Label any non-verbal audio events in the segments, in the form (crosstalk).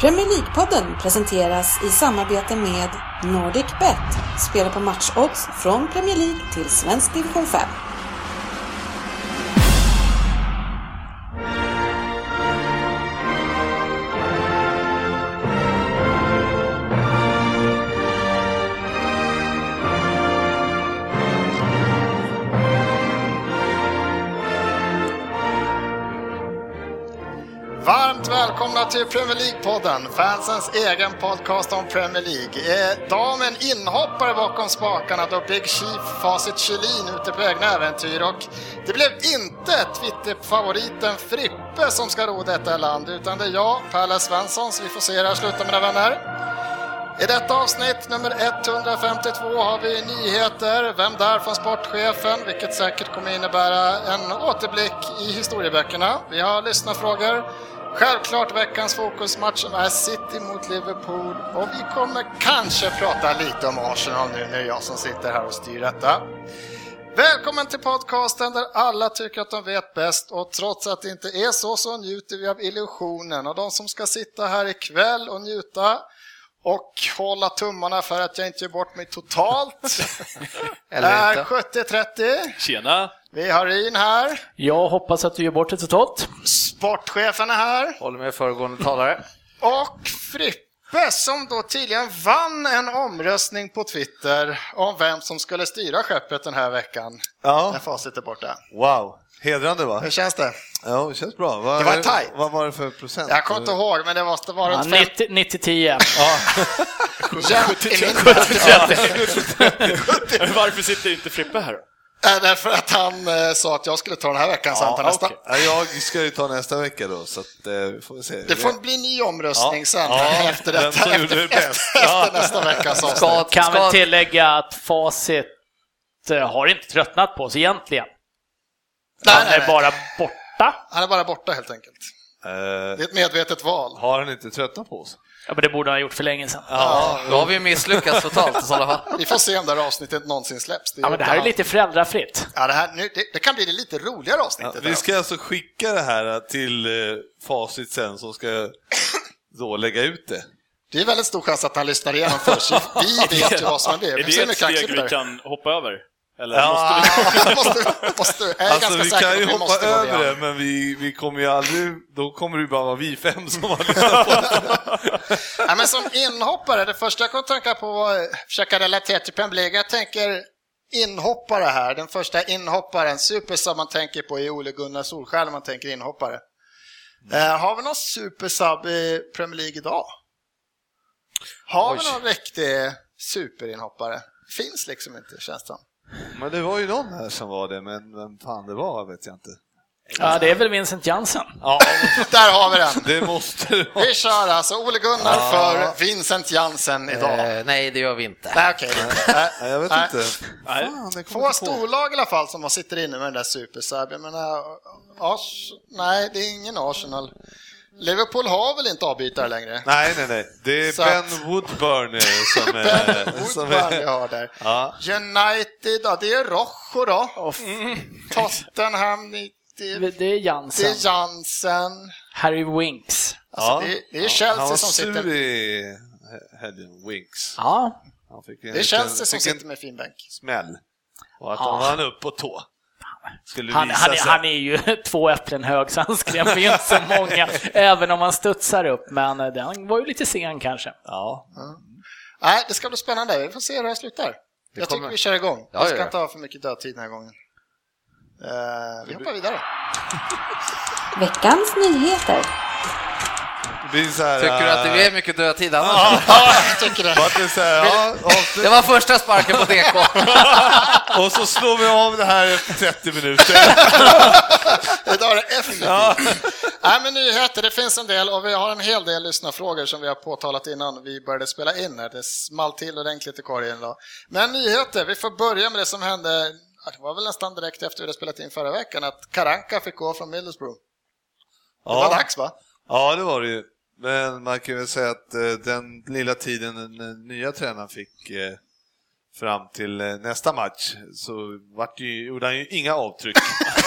Premier League-podden presenteras i samarbete med NordicBet. Spela på matchodds från Premier League till svensk division 5. Varmt välkomna till Premier League-podden, fansens egen podcast om Premier League. Eh, damen inhoppare bakom spakarna då Big Chief Facit Kjellin ute på egna äventyr och det blev inte Twitter-favoriten Frippe som ska ro detta land utan det är jag, Pelle Svensson, så vi får se hur det här slutar mina vänner. I detta avsnitt, nummer 152, har vi nyheter. Vem där från sportchefen, vilket säkert kommer innebära en återblick i historieböckerna. Vi har lyssnarfrågor. Självklart veckans fokusmatch som är City mot Liverpool och vi kommer kanske prata lite om Arsenal nu när det är jag som sitter här och styr detta. Välkommen till podcasten där alla tycker att de vet bäst och trots att det inte är så så njuter vi av illusionen och de som ska sitta här ikväll och njuta och hålla tummarna för att jag inte gör bort mig totalt. Eller är inte. 70-30. Tjena! Vi har Ryn här. Jag hoppas att du gör bort det totalt. Sportchefen är här. Håller med föregående talare. Och Frippe som då tydligen vann en omröstning på Twitter om vem som skulle styra skeppet den här veckan. När Ja, facit är borta. wow. Hedrande va? Hur känns det? Ja, det känns bra. Vad, Det var tajt. Vad var det för procent? Jag kommer inte ihåg, men det måste vara Ja, runt fem- 90 90-10. jämnt i min värld. Varför sitter inte Frippe här då? Äh, Därför att han eh, sa att jag skulle ta den här veckan, så han tar nästa. okej. Ja, jag ska ju ta nästa vecka då, så att, eh, vi får vi se. Det får bli ny omröstning Ja. sen, Ja, efter vem detta, som efter, gjorde det efter, bäst. efter nästa veckas avsnitt. Skad, Kan väl skad, tillägga att facit eh, har inte tröttnat på oss egentligen. Nej, Han nej, är nej. bara borta. Han är bara borta helt enkelt. Eh, Det är ett medvetet val. har han inte tröttnat på oss? Ja, men det borde han ha gjort för länge sedan. ja, då har vi ju misslyckats totalt i sådana fall. Vi får se om det här avsnittet någonsin släpps. Ja, men det här är han- lite föräldrafritt. Ja, det, här, nu, det, det kan bli det lite roligare Ja, avsnittet. vi ska alltså skicka det här till eh, Facit sen som ska då lägga ut det. Det är väldigt stor chans att han lyssnar igenom (laughs) först. Vi vet ju vad som är det. Är Vi det ser hur ett mycket steg axel vi där. kan hoppa över? Eller Ja. måste vi... (laughs) måste, måste, jag är Alltså ganska vi säker på kan att ju vi hoppa måste gå över igenom. det, men vi, vi kommer ju aldrig, då kommer det ju bara vara vi fem som (laughs) har lyssnat på det. Ja, men som inhoppare, det första jag kom att tänka på var eh, försöka relatera till Premier League. Jag tänker inhoppare här. Den första inhopparen, supersub man tänker på är Ole Gunnar Solskjaer när man tänker inhoppare. Mm. Eh, har vi någon supersub i Premier League idag? Har vi Oj. någon riktig superinhoppare? Finns liksom inte, känns det som. Men det var ju någon här som var det, men vem fan det var vet jag inte. Ja, det är väl Vincent Jansen. Ja, Där har vi (laughs) den! det måste det vara. Vi kör alltså Ole Gunnar för Vincent Jansen idag. Eh, nej, det gör vi inte. Nej, okej. Nej. Nej, jag vet Nej. inte. Nej. Fan, jag kommer Få inte på. storlag i alla fall som sitter inne med den där supersub. Jag menar, Ars... Nej, det är ingen Arsenal. Liverpool har väl inte avbytare längre? Nej, nej, nej. Det är Så Ben att- Woodburn eh, (laughs) som är... Ben som Woodburn vi är har där. ja. United, ja det är Rojo då. Tottenham, det är, Det är det Jansen. är Jansen. Harry Winks. Alltså, ja. det, är- det är han Chelsea var som sur sitter... i helgen, Winks. Ja, Han fick en Det är Chelsea som fick en sitter med fin bänk. smäll. Och att Ja. han vann upp på tå. Skulle han, visa han, sig. han är ju (laughs) två äpplen hög, så han skrämmer ju inte så (laughs) många. även om han studsar upp, men eh, den var ju lite sen kanske. Ja. Nej, det ska bli spännande. Vi får se hur det här slutar. jag kommer- tycker vi kör igång. Ja, vi ska ja, ja. inte ha för mycket dödtid den här gången. Eh, vi hoppar vidare. Veckans nyheter. Det blir så här, Tycker du att det är mycket dödtid annars? Ja, jag tycker det. Vart det så här, ja, avslut. Det var första sparken på DK. Och så slår vi av det här efter (laughs) 30 minuter. Idag är det effektivt. (laughs) Nej, men nyheter, det finns en del och vi har en hel del lyssnarfrågor som vi har påtalat innan vi började spela in här. Det small till ordentligt i korgen idag. Men nyheter, vi får börja med det som hände, ja, det var väl nästan direkt efter vi hade spelat in förra veckan, att Karanka fick gå från Middlesbrough. Det var Ja. dags va? Ja, det var det ju. Men man kan väl säga att eh, den lilla tiden den eh, nya tränaren fick eh, fram till eh, nästa match (laughs) så vart det ju, gjorde han ju inga avtryck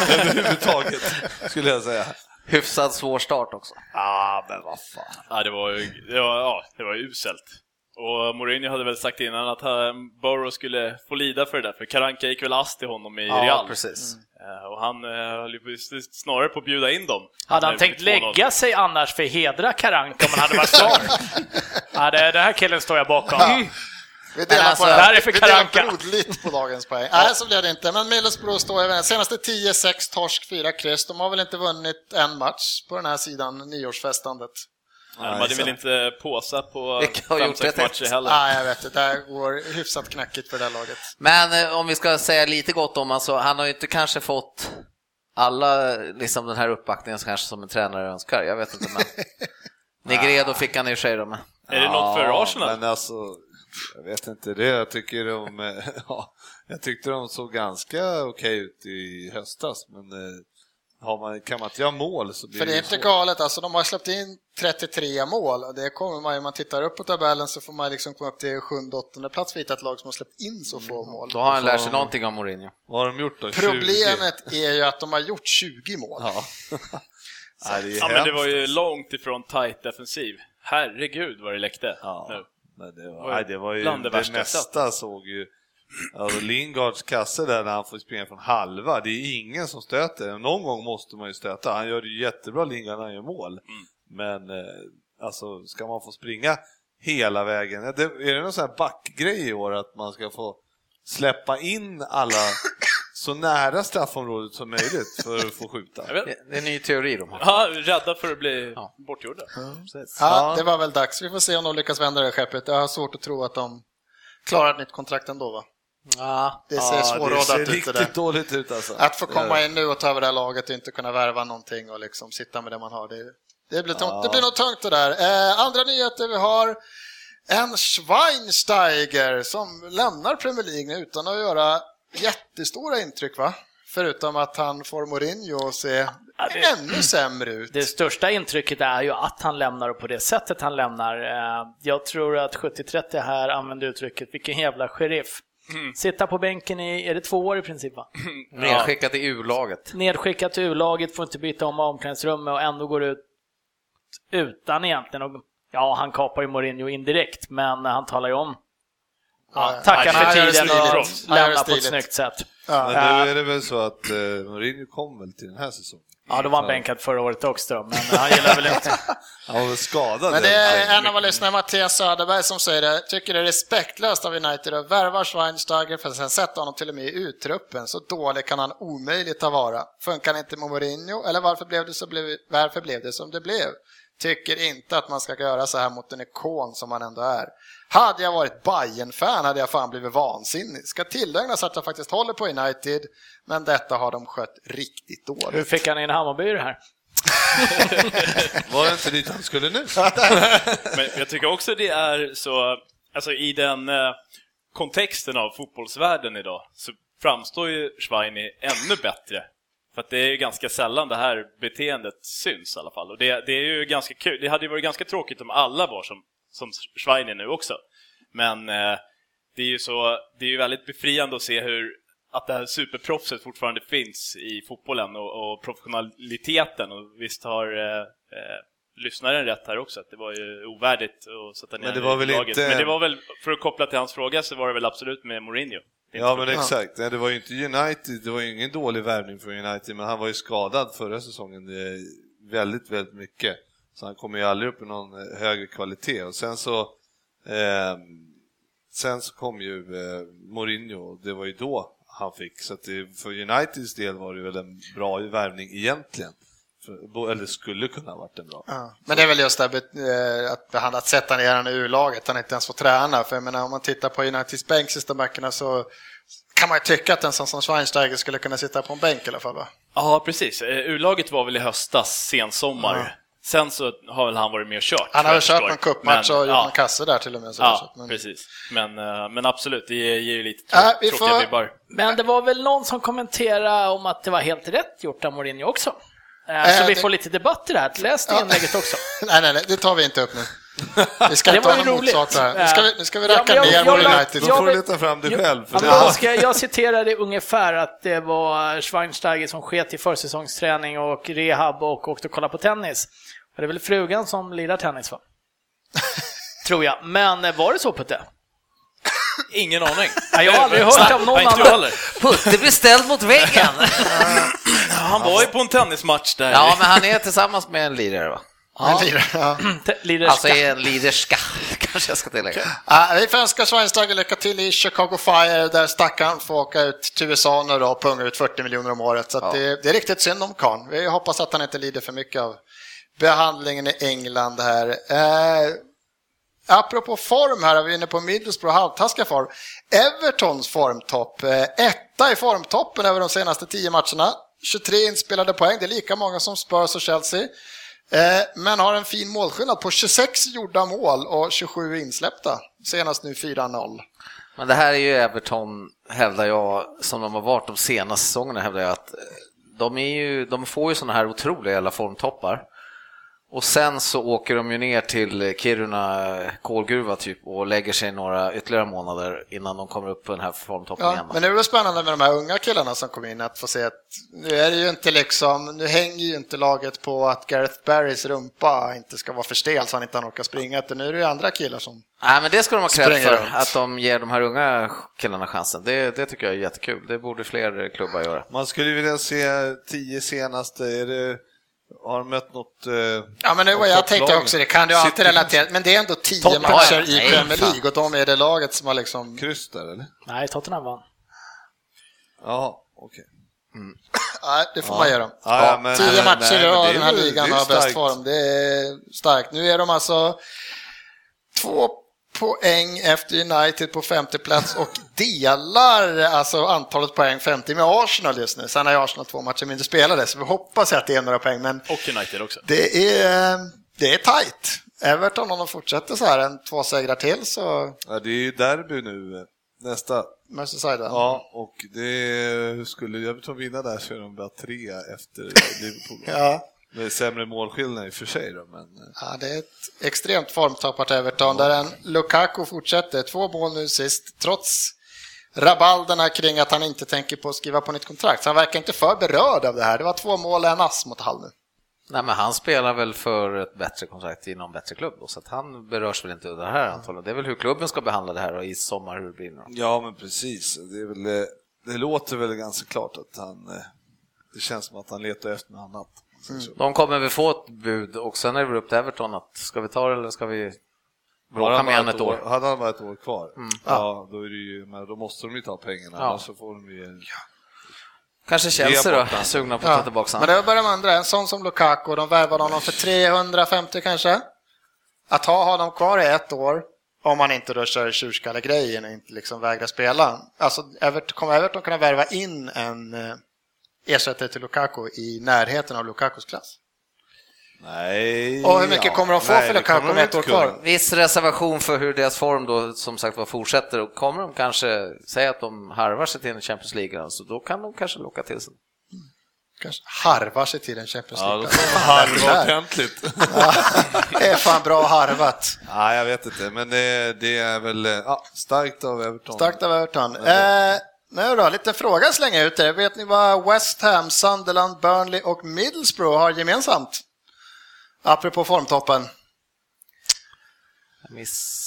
överhuvudtaget, skulle jag säga. hyfsad svår start också. Ja, men vad fan. Ja, det var ju det var, ja, det var ju uselt. Och Mourinho hade väl sagt innan att han- Borough skulle få lida för det där, för Karanka gick väl ass till honom i Real. precis. Eh, Och han eh, höll ju på- snarare på att bjuda in dem. Hade han När tänkt det blev 2-0. lägga sig annars för att hedra Karanka om han hade varit kvar? (laughs) ja, det, den här killen står jag bakom. Vi delar, Men alltså, på, det här är för vi delar Karanka. brodligt på dagens poäng. Nej, så blev det inte. Men Middlesbrough står över. Senaste 10-6, torsk 4 kryss. De har väl inte vunnit en match på den här sidan, nyårsfestandet. Nej, De hade väl inte påsa på Vilka har gjort 5-6 det? matcher heller. Nej, jag vet. Det där går hyfsat knackigt för det här laget. Men eh, om vi ska säga lite gott om alltså, han har ju inte kanske fått alla eh, liksom den här uppbackningen som kanske som en tränare önskar. Jag (laughs) vet inte men. Negredo fick han i och för sig då, men. Är det något för Arsenal? Men alltså, jag vet inte det. Jag tycker de, eh, (laughs) ja, jag tyckte de såg ganska okej ut i höstas, men eh, har man, kan man inte göra mål så blir För det är ju inte svårt. galet, alltså de har släppt in 33 mål och det kommer man ju, om man tittar upp på tabellen så får man liksom komma upp till sjunde, åttonde plats för att hitta ett lag som har släppt in så få mål. Då har han lärt sig någonting av Mourinho. Vad har de gjort då? 20? Problemet är ju att de har gjort 20 mål. Ja. (laughs) Nej, det är Ja, men det hemskt. var ju långt ifrån tight defensiv. Herregud vad det läckte Ja. nu. Men det var, nej, det var ju bland det det, värsta jag mesta såg ju alltså Lingards kasse där när han får springa från halva, det är ingen som stöter. Någon gång måste man ju stöta. Han gör det ju jättebra Lingard när han gör mål. Mm. Men eh, alltså ska man få springa hela vägen? Är det, är det någon sån här backgrej i år att man ska få släppa in alla så nära straffområdet som möjligt för att få skjuta? Jag vet. Det det är en ny teori de har. Ja, rädda för att bli Ja. bortgjorda. Ja, det var väl dags. Vi får se om de lyckas vända det här skeppet. Jag har svårt att tro att de klarar ett nytt kontrakt ändå va? Ja. Det ser det svårrådat ser ut det där. riktigt dåligt ut alltså. Att få komma in nu och ta över det här laget och inte kunna värva någonting och liksom sitta med det man har, det, det, blir, tungt. Ja. det blir nog tungt det där. Eh, andra nyheter vi har, en Schweinsteiger som lämnar Premier League nu utan att göra jättestora intryck va? Förutom att han får Mourinho att se det- ännu sämre ut. Det största intrycket är ju att han lämnar och på det sättet han lämnar. Eh, Jag tror att 70-30 här använder uttrycket “vilken jävla sheriff”. Sitta på bänken i, är det två år i princip va? Nedskickad till U-laget. Nedskickat till U-laget, får inte byta om omklädningsrummet och ändå går ut utan egentligen och, Ja, han kapar ju Mourinho indirekt, men han talar ju om. Ja, tackar han för gör det tiden stiligt. och Han gör det lämnar på ett stiligt. snyggt sätt. Men nu är det väl så att eh, Mourinho kom väl till den här säsongen? Ja, då var han bänkad förra året också då, men han gillar väl inte... (laughs) Han var väl skadad. Men det är eller? en av våra lyssnare, Mattias Söderberg, som säger det. Tycker det är respektlöst av United att värva Schweinsteiger för att sen sätta honom till och med i U-truppen. Så dålig kan han omöjligt ha vara. Funkar inte med Mourinho? Eller varför blev, det så blev, varför blev det som det blev? Tycker inte att man ska göra så här mot en ikon som han ändå är. Hade jag varit Bayern-fan hade jag fan blivit vansinnig. Ska tillägnas att jag faktiskt håller på United, men detta har de skött riktigt Hur dåligt. fick han in Hammarby i det här? Var det inte dit han (laughs) skulle nu? Men jag tycker också det är så, alltså i den eh, kontexten av fotbollsvärlden idag så framstår ju Schweini ännu bättre. För att det är ju ganska sällan det här beteendet syns i alla fall. Och det, det är ju ganska kul. Det hade ju varit ganska tråkigt om alla var som, som Schweini nu också. Men eh, det är ju så, det är ju väldigt befriande att se hur att det här superproffset fortfarande finns i fotbollen och, och professionaliteten. Och visst har eh, eh, lyssnaren rätt här också, att det var ju ovärdigt att sätta ner Men det honom var i väl laget. inte- Men det var väl, för att koppla till hans fråga, så var det väl absolut med Mourinho. Ja, men exakt. Nej, Det var ju inte United, det var ju ingen dålig värvning från United, men han var ju skadad förra säsongen det är väldigt, väldigt mycket. Så han kommer ju aldrig upp i någon eh, högre kvalitet. Och sen så, eh, sen så kom ju eh, Mourinho, och det var ju då han fick. Så att det, för Uniteds del var det väl en bra värvning egentligen. För, bo- eller skulle kunna ha varit en bra. Ja, Men det är väl just det här bet- eh, att behandla, att sätta ner honom i U-laget, han inte ens får träna. För jag menar, om man tittar på Uniteds bänk sista veckorna så kan man ju tycka att en sån som Schweinsteiger skulle kunna sitta på en bänk i alla fall. Va? Ja, precis. Eh, U-laget var väl i höstas, sensommar. Sen så har väl han varit med och kört. Han har väl vad jag kört någon förstår. cupmatch och Men- gjort ja, någon kasse där till och med. Så Ja, men- precis. Men, eh, men absolut, det ger ju lite trå- Äh, vi tråkiga får- vibbar. Men det var väl någon som kommenterade om att det var helt rätt gjort av Mourinho också. Eh, Så Eh, vi det- (laughs) får lite debatt i det här. Läs det inlägget också. nej, nej, nej, det tar vi inte upp nu. Vi (laughs) ska Det inte var ha ju någon roligt. motsatsare. här. Nu ska vi, nu ska vi racka Ja, men ner jag- vår jag- United. Då jag får du vill- leta fram dig Ja, själv. ja, För men jag, ska, jag citerade ungefär att det var Schweinsteiger som sket i försäsongsträning och rehab och åkte och kollade på tennis. Och det är väl frugan som lirar tennis va? Tror jag. Men eh, var det så Putte? Ingen (laughs) aning. Nej, jag har aldrig hört om någon Nej, inte jag annan. heller. Putte blir ställd mot väggen! Han var ju på en tennismatch där. Ja, men han är tillsammans med en lirare va? Men lira, ja. Te- Lirerska. Alltså är en liderska, (laughs) kanske jag ska tillägga. Ja, vi får önska Schweinsteiger lycka till i Chicago Fire där stackaren får åka ut till USA nu då och punga ut 40 miljoner om året. Så att Ja. det, det är riktigt synd om Kahn. Vi hoppas att han inte lider för mycket av behandlingen i England här. Eh, apropå form här, vi är inne på Middlesbrough halvtaskiga form. Evertons formtopp, eh, etta i formtoppen över de senaste 10 matcherna. 23 inspelade poäng, det är lika många som Spurs och Chelsea. Eh, Men har en fin målskillnad på 26 gjorda mål och 27 insläppta. Senast nu 4-0. Men det här är ju Everton, hävdar jag, som de har varit de senaste säsongerna, hävdar jag att eh, de, är ju, de får ju sådana här otroliga jävla formtoppar. Och sen så åker de ju ner till Kiruna kolgruva typ och lägger sig några ytterligare månader innan de kommer upp på den här formtoppen igen. Ja, va? men det är väl spännande med de här unga killarna som kom in att få se att nu är det ju inte liksom, nu hänger ju inte laget på att Gareth Barrys rumpa inte ska vara för stel så han inte orkar springa. Utan nu är det ju andra killar som... Nej, men det ska de ha cred Spränger för, runt. att de ger de här unga killarna chansen. Det, det tycker jag är jättekul. Det borde fler klubbar göra. Man skulle vilja se tio senaste. Är det, har de mött något... eh, Ja men det var av jag tänkte topplagen? också, det kan du alltid City- relatera Men det är ändå 10 Toppen. matcher Ja, ja. i Nej, Premier fan. League och de är det laget som har liksom... Kryss där eller? Nej, Tottenham vann. Jaha, okej. Nej, det får man göra. Ja, ja, men- Tio nej, matcher nej, i men det rad är den här väl- ligan det är har bäst starkt. form. Det är starkt. Nu är de alltså två poäng efter United på femte plats och delar alltså antalet poäng 50 med Arsenal just nu. Sen har ju Arsenal två matcher mindre spelade så vi hoppas att det är några poäng men Och United också. det är, det är tajt. Everton om de fortsätter så här en två segrar till så Ja, det är ju derby nu eh, nästa. Merseyside. va? Ja, och det skulle Everton vinna där så är de bara tre efter Liverpool. Ja. Det är sämre målskillnad i och för sig då, men... eh, Ja, det är ett extremt formtappat Everton där en Lukaku fortsätter. Två mål nu sist, trots rabalderna kring att han inte tänker på att skriva på nytt kontrakt. Så han verkar inte för berörd av det här. Det var två mål och en ass mot Hall nu. Nej, men han spelar väl för ett bättre kontrakt i någon bättre klubb då, så att han berörs väl inte av det här antagligen. Det är väl hur klubben ska behandla det här och i sommar hur det blir nu då. Ja, men precis. Det, är väl, eh, det låter väl ganska klart att han... eh, Det känns som att han letar efter något annat. Mm. De kommer väl få ett bud och sen är det väl upp till Everton att ska vi ta det eller ska vi bråka med han ett år? Hade han bara ett år kvar, ja, då, är det ju, men då måste de ju ta pengarna. Ja. Annars så får de ju... Kanske Chelsea Ge då, bort han. sugna på att ta Ja. tillbaka Men honom. då börjar man undra, en sån som Lukaku, de värvade honom för 350 kanske? Att ha honom kvar i ett år, om man inte då kör tjurskallegrejen och inte liksom vägrar spela. Alltså, Everton, kommer Everton kunna värva in en eh, ersättare till Lukaku i närheten av Lukakus klass? Nej. Och hur mycket kommer de få Nej, för det Lukaku kommer med de ett år inte kunna. kvar? Viss reservation för hur deras form då som sagt var fortsätter och kommer de kanske säga att de harvar sig till en Champions League så då kan de kanske locka till sig. Kanske harvar sig till en Champions Ja, då League. får man harva ordentligt. det är fan bra harvat. Nej, jag vet inte, men det, det är väl eh, ja, starkt av Everton. Starkt av Everton. Eh, nu då, lite fråga slänga ut där. Vet ni vad West Ham, Sunderland, Burnley och Middlesbrough har gemensamt? Apropå formtoppen. Jag Miss...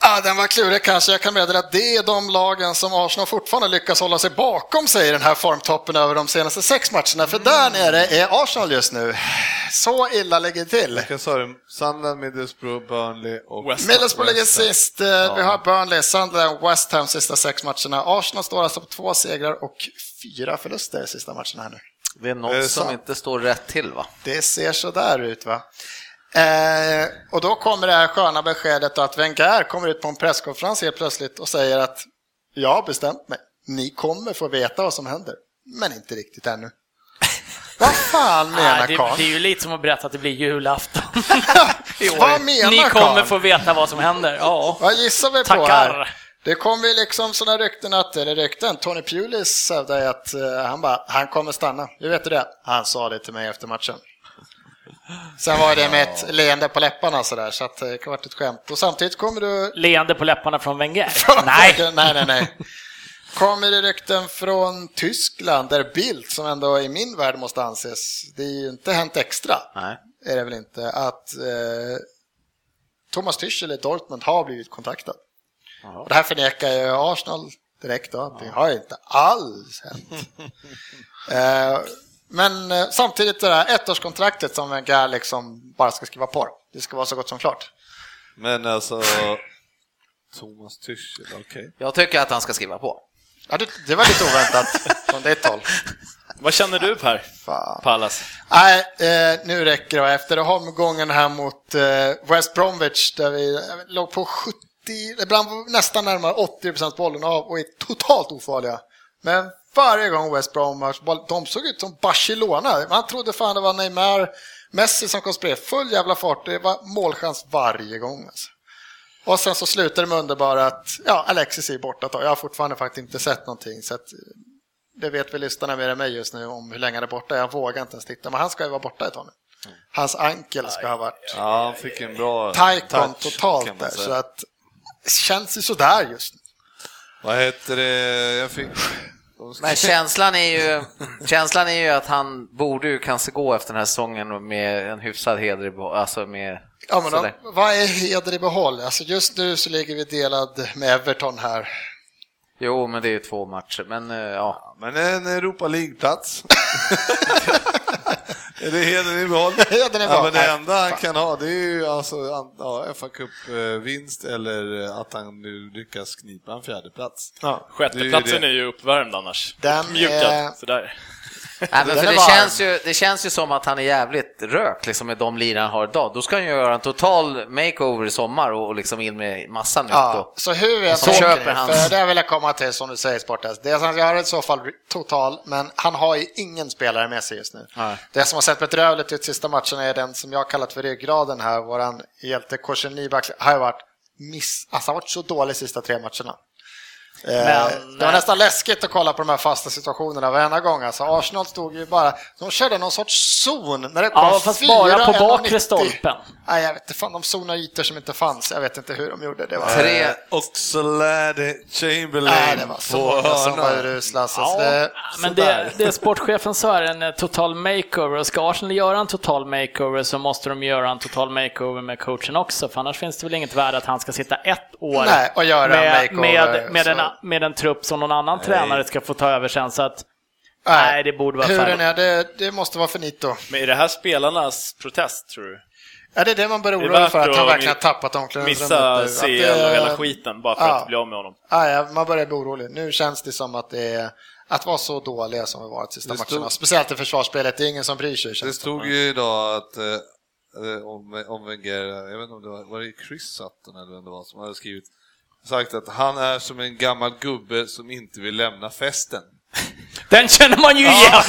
Ah, den var klurig kanske. Jag kan meddela att det är de lagen som Arsenal fortfarande lyckas hålla sig bakom sig i den här formtoppen över de senaste sex matcherna. För där nere är Arsenal just nu. Så illa ligger det till. Vilka sa du? Sunderland, Middlesbrough, Burnley och... West Ham. Middlesbrough ligger West Ham. sist. Eh, Vi har Burnley, Sunderland, West Ham sista sex matcherna. Arsenal står alltså på två segrar och fyra förluster i sista matcherna här nu. Det är något Eh, Är det som sant? inte står rätt till va? Det ser sådär ut va. Eh, och då kommer det här sköna beskedet då att Wenger kommer ut på en presskonferens helt plötsligt och säger att jag har bestämt mig. Ni kommer få veta vad som händer. Men inte riktigt (laughs) ännu. vad fan menar Nej, det, det karln? är ju lite som att berätta att det blir julafton. (laughs) (laughs) Vad menar Ni kommer karln? få veta vad som händer. Ja. Vad gissar vi på Tackar. här? Det kommer ju liksom sådana rykten att, eller rykten, Tony Pulis hävdar ju att eh, han bara, han kommer stanna. Jag vet du det? Han sa det till mig efter matchen. Sen var det med ett leende på läpparna sådär, så att eh, det kan varit ett skämt. Och samtidigt kommer du... Leende på läpparna från Wenger. (laughs) Nej! (laughs) nej, nej, nej. Kommer det rykten från Tyskland, där Bildt, som ändå i min värld måste anses, det är ju inte hänt extra, Nej. är det väl inte, att eh, Thomas Tuchel i Dortmund har blivit kontaktad. Och det här förnekar ju Arsenal direkt då, att det har ju inte alls hänt. eh, men eh, samtidigt det där ettårskontraktet som Wenger liksom bara ska skriva på, det ska vara så gott som klart. Men alltså... Thomas Tyschel, okej. Jag tycker att han ska skriva på. Ja, det, det var lite oväntat från ditt håll. Vad känner du Per Fan. Pallas? Nej, eh, nu räcker det. Efter omgången här mot eh, West Bromwich där vi eh, låg på 70, ibland nästan närmare 80 procent bollen av och är totalt ofarliga. Men varje gång West Bromwich, boll- de såg ut som Barcelona. Man trodde fan det var Neymar, Messi som kom spred. Full jävla fart. Det var målchans varje gång. Alltså. Och sen så slutar det med underbara att ja, Alexis är borta ett tag. Jag har fortfarande faktiskt inte sett någonting. Så att, det vet väl lyssnarna mer än mig just nu om hur länge han är borta. Jag vågar inte ens titta, men han ska ju vara borta ett tag nu. Hans ankel ska ha varit Mm. Ja, han fick en bra taikon touch, kan totalt man där, säga. så att det känns ju sådär just nu. Vad heter det? Jag fick... Men känslan är ju, känslan är ju att han borde ju kanske gå efter den här säsongen med en hyfsad heder i bo- alltså med... Ja, men sådär. då, vad är heder i behåll? Alltså just nu så ligger vi delad med Everton här. Jo, men det är ju två matcher, men eh, ja. Men en (laughs) Europa League-plats. är det hedern i (laughs) behåll? Hedern i behåll. Ja, men det Nej, enda han kan ha det är ju alltså, an- ja, FA Cup-vinst eller eh, att han nu lyckas knipa en fjärde plats. Ja. Sjätteplatsen det. är ju uppvärmd annars. Den Uppmjukad, är- sådär. Nej, men där för är det, varm. känns ju, det känns ju som att han är jävligt rök liksom med de lirarna han har idag. Då ska han ju göra en total makeover i sommar och, och liksom in med massa nytt. Mm. Ja, och- så hur vi än Och så tänker köper nu, han- för det vill jag komma till som du säger Sportas, det är att han gör i så fall total, men han har ju ingen spelare med sig just nu. Nej. Det som har sett bedrövligt ut sista matchen är den som jag kallat för ryggraden här, våran hjälte Korsen Nyback har ju varit miss, alltså han har varit så dålig sista tre matcherna. Eh, Men- det var nästan läskigt att kolla på de här fasta situationerna varenda gång. Alltså Arsenal stod ju bara, de körde någon sorts zon när det kom Ja, fast fyra bara på 1,90. bakre stolpen. Nej, jag vet inte, fan de zonade ytor som inte fanns. Jag vet inte hur de gjorde. Det var... Tre- Eh, Oxlade Chamberlain Nej, det var så på många som var hörnan. urusla. Så Ja, det, men Eh, sådär. det, det sportchefen sa är en eh, total makeover och ska Arsenal göra en total makeover så måste de göra en total makeover med coachen också för annars finns det väl inget värde att han ska sitta ett år Nej, och göra en med, makeover, med, med, så- en, med en trupp som någon annan tränare ska få ta över sen så att Nej. nej, det borde vara Hur färdigt. den är, det, det måste vara finito. Men är det här spelarnas protest, tror du? Ja, det är det man börjar Det är oroa sig värt för, att han att verkligen har mi- tappat omklädningsrummet. nu. Missa Att CL det- och hela skiten bara för Ja. att bli av med honom. Ja, ja, man börjar bli orolig. Nu känns det som att det är att vara så dåliga som vi varit sista Det matcherna. stod- Speciellt i försvarsspelet, det är ingen som bryr sig. Det känns det. stod ju idag att eh, eh, om, om Wenger, jag vet inte om det var, var det Chris Sutton eller vem det var som hade skrivit, sagt att han är som en gammal gubbe som inte vill lämna festen. Den känner man ju igen!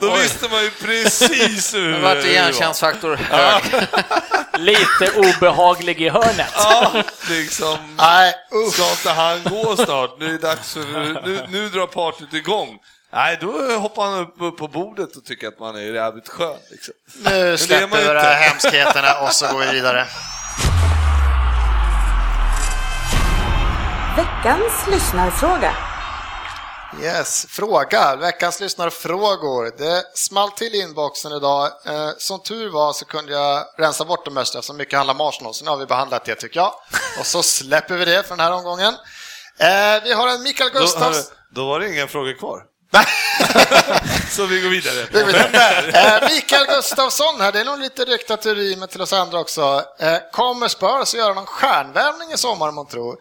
Då visste man ju precis hur Det (laughs) vart igenkänningsfaktor hög. Lite obehaglig i hörnet. Ja, liksom. Nej, usch. Ska inte han gå snart? Nu är det dags för, nu, nu drar partyt igång. Nej, då hoppar han upp, upp på bordet och tycker att man är jävligt skön. Liksom. Nu man släpper vi ju de inte. här hemskheterna och så går vi vidare. Veckans lyssnarfråga. Yes, fråga. Veckans lyssnarfrågor. Det small till i inboxen idag. Eh, som tur var så kunde jag rensa bort de mesta eftersom mycket handlar om Arsenal. Så nu har vi behandlat det tycker jag. Och så släpper vi det för den här omgången. Eh, vi har en Mikael Då, hörru, Gustafs... då var det inga frågor kvar. (laughs) Så vi går vidare. Vi går vidare. Eh, Mikael Gustafsson här, det är nog lite ryktat ur rimen till oss andra också. Eh, Kommer Spurs att göra någon stjärnvärvning i sommar man tror?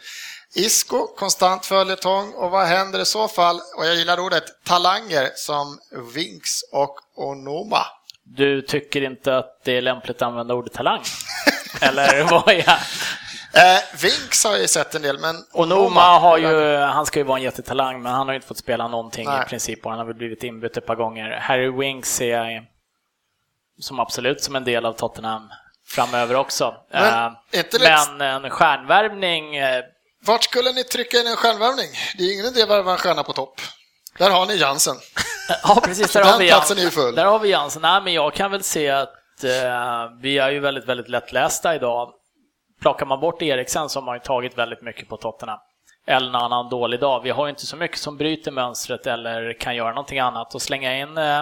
Isco, konstant följetong och vad händer i så fall? Och jag gillar ordet talanger som Winks och Onoma. Du tycker inte att det är lämpligt att använda (laughs) ordet talang? Eller vad är jag? Eh, Winks har jag ju sett en del, men Och Noma har ju, han ska ju vara en jättetalang, men han har ju inte fått spela någonting Nej. i princip och han har väl blivit inbytt ett par gånger. Harry Winks ser jag som absolut som en del av Tottenham framöver också. Men, Eh, inte det- men en stjärnvärvning, eh, (laughs) Vart skulle ni trycka in en stjärnvärvning? Det är ingen idé att värva en stjärna på topp. Där har ni chansen. ja precis, där Den har vi platsen Jans- är ju full. Där har vi Jansen. Nej, men jag kan väl se att eh, vi är ju väldigt, väldigt lättlästa idag. Plockar man bort Eriksen så har man ju tagit väldigt mycket på Tottenham. Eller någon annan dålig dag. Vi har ju inte så mycket som bryter mönstret eller kan göra någonting annat. Och slänga in eh,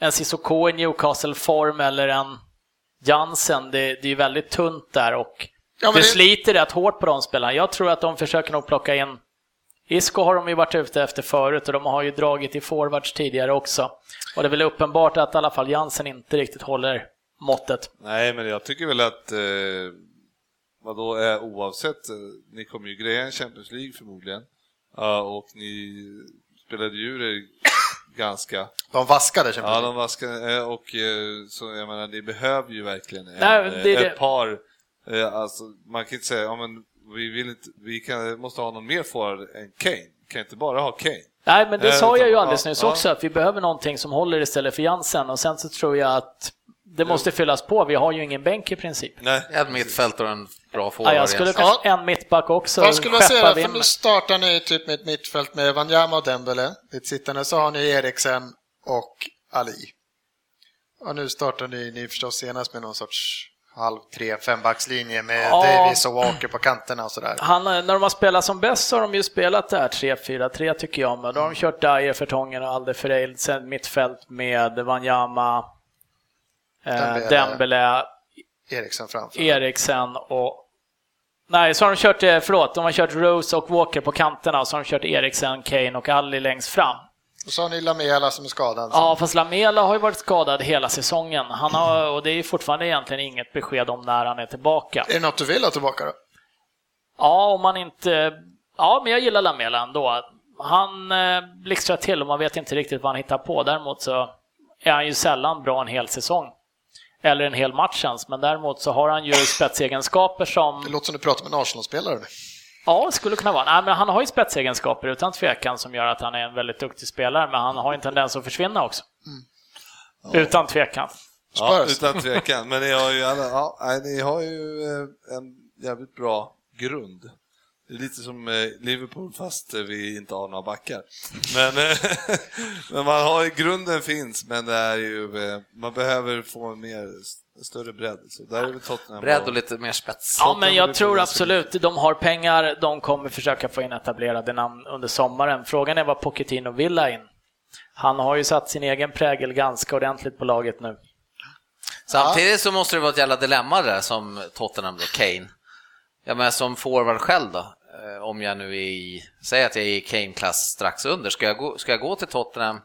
en Cissoko i Newcastle-form eller en Jansen, det, det är ju väldigt tunt där och Ja, men det det- sliter rätt hårt på de spelarna. Jag tror att de försöker nog plocka in Isco har de ju varit ute efter förut och de har ju dragit i forwards tidigare också. Och det är väl uppenbart att i alla fall Jansen inte riktigt håller måttet. Nej, men jag tycker väl att eh, vadå, eh, oavsett, eh, ni kommer ju greja en Champions League förmodligen. Ja, och ni spelade ju det ganska. De vaskade Champions Ja, League. de vaskade, eh, och eh, så jag menar, ni behöver ju verkligen en, Nej, det är eh, det. ett par, eh, alltså man kan inte säga, ja men vi vill inte, vi kan, måste ha någon mer forward än Kane. Kan inte bara ha Kane. Nej, men det Eh, sa jag ju ja, alldeles nyss ja. också, att vi behöver någonting som håller istället för Jansen. Och sen så tror jag att det måste fyllas på. Vi har ju ingen bänk i princip. Nej. En mittfältare och en bra Ja, forward. jag skulle egentligen. kanske en mittback också. Vad skulle jag säga skeppa det? För Wimmer. nu startar ni typ med ett mittfält med Wanyama och Dembele. Ditt sittande så har ni Eriksen och Ali. Och nu startar ni, ni förstås senast med någon sorts halv tre fembackslinje med Ja. Davis och Walker på kanterna och sådär. Han, eh, när de har spelat som bäst så har de ju spelat det här 3-4-3 tycker jag. Men då har de kört Dyer, Fertongen och Alde Ferreil, sen mittfält med Wanyama, eh, Dembele. Dembele, Eriksen framför. Eriksen och... Nej, så har de kört, eh, förlåt, de har kört Rose och Walker på kanterna och så har de kört Eriksen, Kane och Ali längst fram. Och så har ni Lamela som är skadad. Ja, fast Lamela har ju varit skadad hela säsongen. Han har, och det är ju fortfarande egentligen inget besked om när han är tillbaka. Är det något du vill ha tillbaka då? Ja, om man inte... Ja, men jag gillar Lamela ändå. Han eh, blixtrar till och man vet inte riktigt vad han hittar på. Däremot så är han ju sällan bra en hel säsong. Eller en hel match ens, men däremot så har han ju spetsegenskaper Det som... låter som du pratar med en Arsenal-spelare nu. Ja, skulle kunna vara. Nej, men han har ju spetsegenskaper utan tvekan som gör att han är en väldigt duktig spelare, men han har ju en tendens att försvinna också. Utan tvekan. Ja, Spurs. utan tvekan. Men ni har ju, alla, ja, nej, ni har ju eh, en jävligt bra grund. Det är lite som eh, Liverpool fast eh, vi inte har några backar. Men, eh, (laughs) men man har ju, grunden finns men det är ju, eh, man behöver få en mer, en större bredd. Så där är väl Tottenham Bredd bra. och lite mer spets. Ja, men kan jag det tror bli. absolut de har pengar. De kommer försöka få in etablerade namn under sommaren. Frågan är vad Pochettino vill ha in. Han har ju satt sin egen prägel ganska ordentligt på laget nu. Samtidigt så måste det vara ett jävla dilemma där som Tottenham då, Kane. Ja men som forward själv då, eh, om jag nu är i, säg att jag är i Kane-klass strax under, ska jag gå, ska jag gå till Tottenham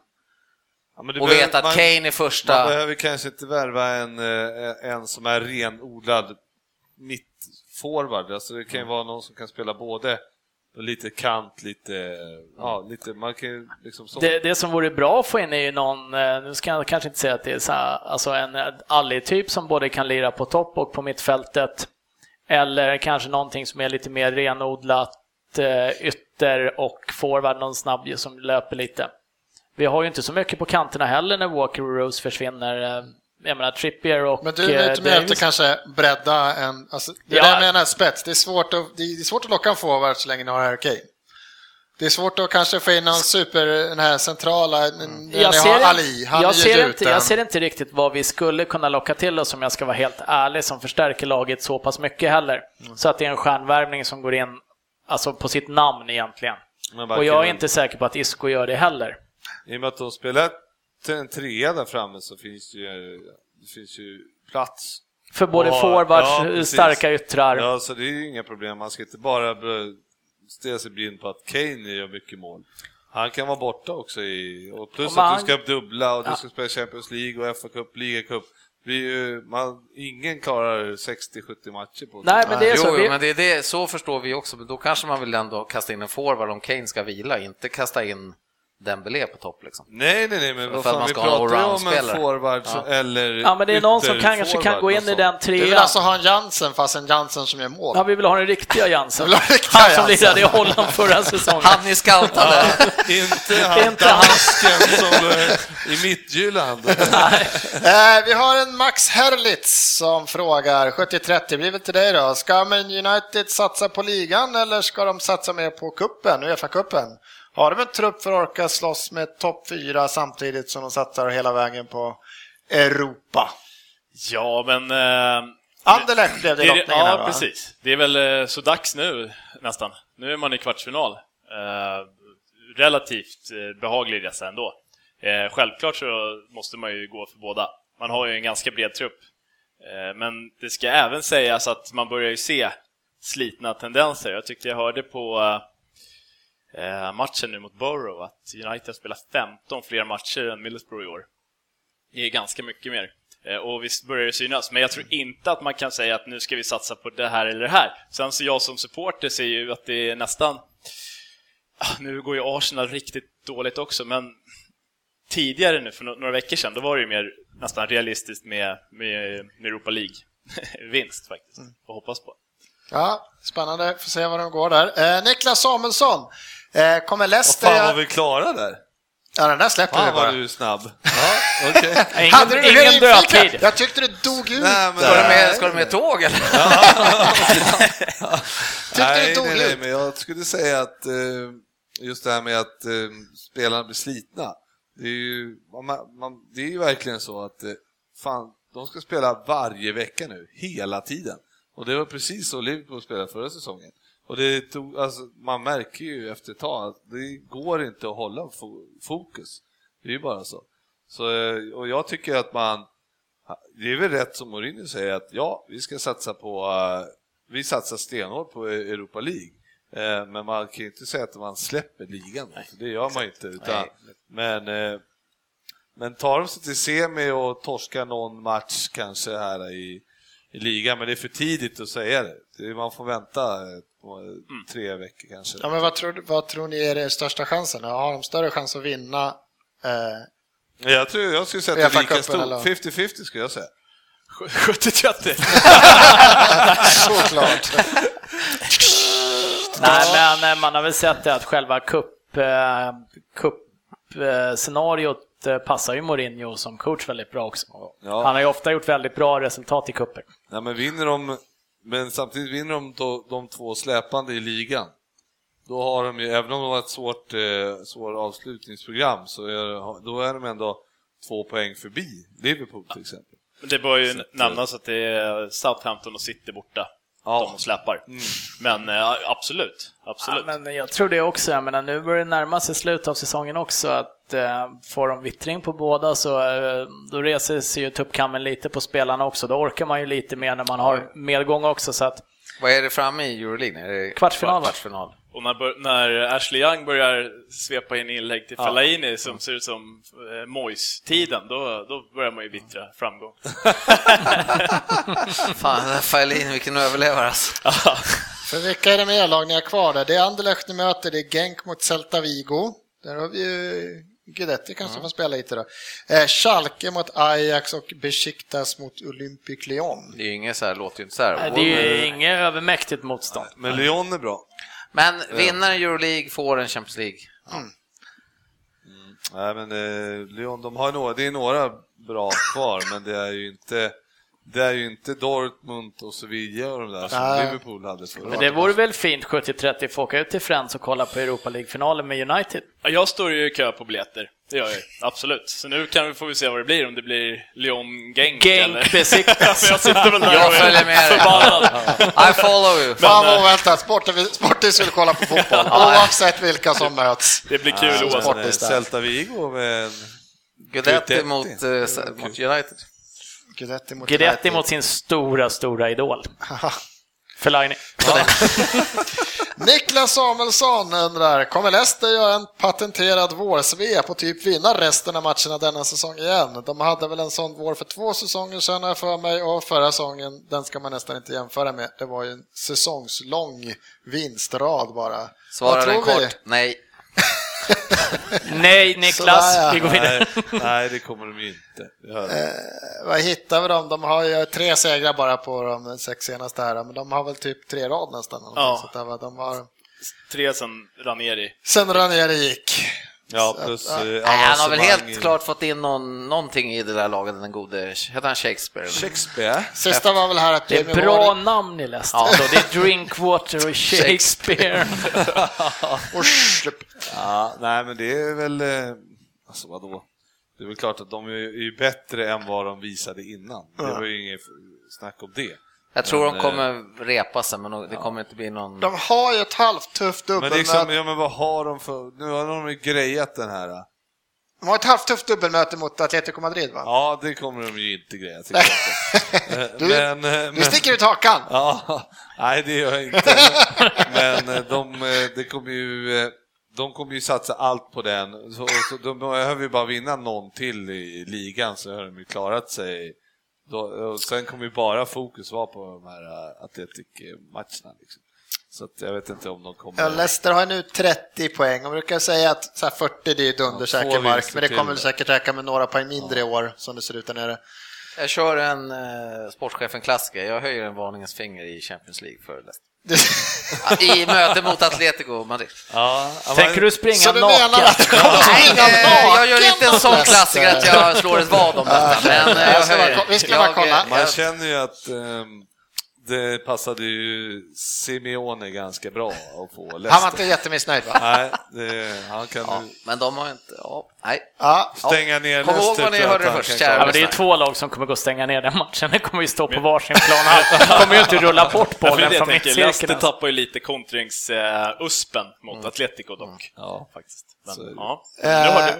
Ja, men du och behöver- veta att man- Kane är Man första? behöver kanske inte värva en, eh, en som är renodlad mittforward. Alltså det Mm. kan ju vara någon som kan spela både lite kant, lite... Ja, lite man kan ju liksom så. Mm. Det, det som vore bra att få in är ju någon, eh, nu ska jag kanske inte säga att det är så här, alltså en eh, Alli-typ som både kan lira på topp och på mittfältet. Eller kanske någonting som är lite mer renodlat eh, ytter och forward, någon snabb ju som löper lite. Vi har ju inte så mycket på kanterna heller när Walker och Rose försvinner. eh, Jag menar Trippier och Men du är ute eh, med Davis. att kanske bredda en... Alltså, det är Ja. det jag menar, spets. Det är, svårt att, det är svårt att locka en forward så länge ni har Harry Kane. Det är svårt att kanske få in någon super, den här centrala, mm. ni har jag ser, Ali, han jag, är ju ser inte, gjuten. jag ser inte riktigt vad vi skulle kunna locka till oss om jag ska vara helt ärlig, som förstärker laget så pass mycket heller. Mm. Så att det är en stjärnvärvning som går in alltså på sitt namn egentligen. Men varken- Och jag är inte säker på att Isco gör det heller. I och med att de spelar till en trea där framme så finns det ju, det finns ju plats. För både Ja, forwards, eh, ja, precis. starka yttrar. Ja, så det är ju inga problem. Man ska inte bara bli- stirra sig blind på att Kane gör mycket mål. Han kan vara borta också i, och plus Och man- att du ska dubbla och du ska spela Champions League och FA Cup, ligacup. Det blir ju- Man, ingen klarar 60-70 matcher på Nej, men det är Jo, så. jo, Vi- men det är det, så förstår vi också, men då kanske man vill ändå kasta in en forward om Kane ska vila, inte kasta in Dembélé på topp liksom. Nej, nej, nej, men För vad att fan, man vi ska ha en pratar ju om en allround-spelare. forward som- eller Ja, men det är någon som kan, kanske kan ytterforward gå in i och den Du vill trean. alltså ha en Jansen fast en Jansen som gör mål? (laughs) Ja, vi vill ha den riktiga Jansen. vill ha den riktiga Han som Jansen. lirade i Holland (laughs) förra säsongen. Han ni scoutade! sånt. Inte han Inte han. dansken (laughs) som eh, i Midtjylland. Eh, vi har en Max Herlitz som frågar, 70-30 blir väl till dig då. Ska Man United satsa på ligan eller ska de satsa mer på kuppen, Uefa-cupen? Har de en trupp för att orka slåss med topp fyra samtidigt som de satsar hela vägen på Europa? Ja, men... eh, Anderlecht blev det i är lottningen här, Ja, va? precis. Det är väl eh, så dags nu nästan. Nu är man i kvartsfinal. Eh, relativt eh, behaglig resa ändå. Eh, självklart så måste man ju gå för båda. Man har ju en ganska bred trupp. Eh, men det ska även sägas att man börjar ju se slitna tendenser. Jag tyckte jag hörde på eh, eh, matchen nu mot Borough att United spelar 15 fler matcher än Middlesbrough i år. Det är ganska mycket mer. Eh, Och visst börjar det synas, men jag tror inte att man kan säga att nu ska vi satsa på det här eller det här. Sen så jag som supporter ser ju att det är nästan... Ah, Nu går ju Arsenal riktigt dåligt också, men tidigare nu, för no- några veckor sedan, då var det ju mer nästan realistiskt med, med, med Europa League-vinst faktiskt, att hoppas på. Ja, spännande. Får se var de går där. Eh, Niklas Samuelsson. Eh, kommer Och Leicester... fan var vi klara där? Ja, den där släpper vi Fan bara. vad du är snabb. (laughs) Ja, (laughs) okej. Ingen, Hade du blev ingen nyfiken. (laughs) dödtid. Jag tyckte du dog ut. Nej, men- Ska du med, ska du med tåg eller? Tyckte nej, det tog nej, nej, ut. men jag skulle säga att eh, just det här med att eh, spelarna blir slitna. Det är ju, man, man, det är ju verkligen så att eh, fan, de ska spela varje vecka nu, hela tiden. Och det var precis så Liverpool spelade förra säsongen. Och det tog, alltså, man märker ju efter ett tag att det går inte att hålla fo- fokus. Det är ju bara så. så eh, och jag tycker att man, det är väl rätt som Mourinho säger att ja, vi ska satsa på, eh, vi satsar stenhårt på E- Europa League. Eh, Men man kan ju inte säga att man släpper ligan, för det gör man ju inte. Utan, men, eh, men tar de sig till semi och torskar någon match kanske här i, i ligan, men det är för tidigt att säga det. Det är- Man får vänta eh, på, eh, tre veckor kanske. Ja, men vad, tror, du- vad tror ni är den största chansen? Har de större chans att vinna? Eh, Jag, tror, jag skulle säga att det är lika Uefa-cupen stort, eller? 50-50 skulle jag säga. 70-30! såklart. Nej, men eh, man har väl sett det att själva cup, eh, cup, eh, scenariot eh, passar ju Mourinho som coach väldigt bra också. Ja. Han har ju ofta gjort väldigt bra resultat i cuper. Nej, men vinner de, men samtidigt vinner de då, de två släpande i ligan. Då har de ju, även om de har ett svårt, eh, svårt avslutningsprogram, så är, då är de ändå två poäng förbi Liverpool till exempel. Men Det bör ju nämnas att det är Southampton och City borta, Ja. de släpar. Men eh, absolut, absolut. Mm. Ja, men jag tror det också. Jag menar, nu börjar det närma sig slutet av säsongen också. Att, eh, får de vittring på båda så eh, då reser sig ju tuppkammen lite på spelarna också. Då orkar man ju lite mer när man har medgång också. Så att, Vad är det framme i Euroleague? nu? Är det Kvartsfinal, va? kvartsfinal? Och när, bör- när Ashley Young börjar svepa in inlägg till Fellaini som Mm. ser ut som eh, Moyes-tiden, då, då börjar man ju Mm. vittra (laughs) framgång. Fan, den här Fajlin, vilken överlevare alltså. För vilka är det mer lag ni har kvar där? Det är Anderlecht ni möter, det är Genk mot Celta Vigo. Där har vi ju Guidetti kanske får spela lite då. Eh, Schalke mot Ajax och Besiktas mot Olympic Lyon. Det är ju inget så här, låter ju inte så här. eh, det är ju inget övermäktigt motstånd. Men Lyon är bra. Men vinnaren i Euroleague får en Champions League. Nej, men eh, Lyon, de har några, det är några bra kvar, men det är ju inte det är ju inte Dortmund och Sevilla och de där som Nej. Liverpool hade förra Men det vore väl fint 70-30 att få åka ut till Friends och kolla på Europa League-finalen med United. Ja, Jag står ju i kö på biljetter, det gör jag ju. Absolut. Så nu kan vi, får vi se vad det blir, om det blir Lyon-Genk Genk (laughs) besiktas. För Alltså, jag sitter väl där Jag och är följer med dig. förbannad. I follow you. Fan vad oväntat, Sportis Sportis vill kolla på fotboll oavsett vilka som möts. Det blir kul oavsett. Men, eh, Sportis där. Celta Vigo med en Guidetti Guidetti. mot, eh, s- mot United. Guidetti mot Guidetti United. mot sin stora, stora idol. (laughs) Fellaini. Niklas Samuelsson undrar, kommer Leicester göra en patenterad vårsvep och typ vinna resten av matcherna denna säsong igen? De hade väl en sån vår för två säsonger sedan har jag för mig och förra säsongen, den ska man nästan inte jämföra med. Det var ju en säsongslång vinstrad bara. Svarar Vad den tror vi? kort? Nej. Nej, Niklas. Sådär, ja. Vi går vidare. Nej, nej, det kommer de ju inte. Det hör jag. Vad hittar vi dem? De har ju tre segrar bara på de sex senaste här, men de har väl typ tre rad nästan. eller Ja. något sånt där, va? de har... Tre sen Ranieri. Sen Ranieri gick. Ja, plus eh, Nej, han har väl helt avancemang i- klart fått in någon, någonting i det där laget, den gode, heter han Shakespeare? Shakespeare. Sista var väl här att Det Jamie är bra Vardy- namn i Leicester. då. Det är Drinkwater och (laughs) (laughs) Shakespeare. och Schlupp. Ja, nej, men det är väl... eh, Alltså vadå? Det är väl klart att de är är ju bättre än vad de visade innan. Det var ju inget snack om det. Jag tror Men, eh, de kommer repa sig, men det kommer inte bli någon... De har ju ett halvt tufft Men dubbelmöte. liksom, ja men vad har de för... Nu har de ju grejat den här. eh. De har ett halvt tufft dubbelmöte mot Atletico Madrid va? Ja, det kommer de ju inte greja till exempel. Eh, Du- men, eh, Du sticker ut hakan! Ja, nej det gör jag inte. Men eh, de, eh, det kommer ju, eh, de kommer ju satsa allt på den. Så, så de behöver ju bara vinna någon till i ligan så har de ju klarat sig. Då, och sen kommer ju bara fokus vara på de här eh, Atletic-matcherna. Liksom. Så att jag vet inte om de kommer... Ja, Leicester har nu 30 poäng. Man brukar säga att så här 40 det är ju Ja, dundersäker två mark, vinster men det till. kommer säkert räcka med några poäng mindre i år som det ser ut där nere. Jag kör en eh, sportchefen klassiker. Jag höjer en varningens finger i Champions League för Leicester. (laughs) (laughs) Ja, I möte mot Atletico Madrid. Ja, Tänker men- du springa Så du naken? menar att Nej, eh, jag gör naken inte en mot sån Leicester. klassiker att jag slår ett vad om detta, men eh, jag ska bara ko- höjer. vi ska bara Jag, eh, kolla. Man jag- känner ju att ehm, det passade ju Simeone ganska bra att få Han var Leicester. inte jättemissnöjd va? Nej, det, han kan Ja, ju men de har inte... Ja, nej. Ja. stänga ner Kom ihåg Leicester vad ni för att hörde han först, kan kära Ja, klara men det är ju lyssnare. två lag som kommer gå och stänga ner den matchen. Den kommer ju stå på varsin plan (laughs) här. De kommer ju inte rulla bort Därför är bollen det jag från tänker, Leicester mittcirkeln. alltså. tappar ju lite kontringsuspen mot Atletico dock. Ja, Faktiskt. Så är det. Men, ja. Nu har du. Eh,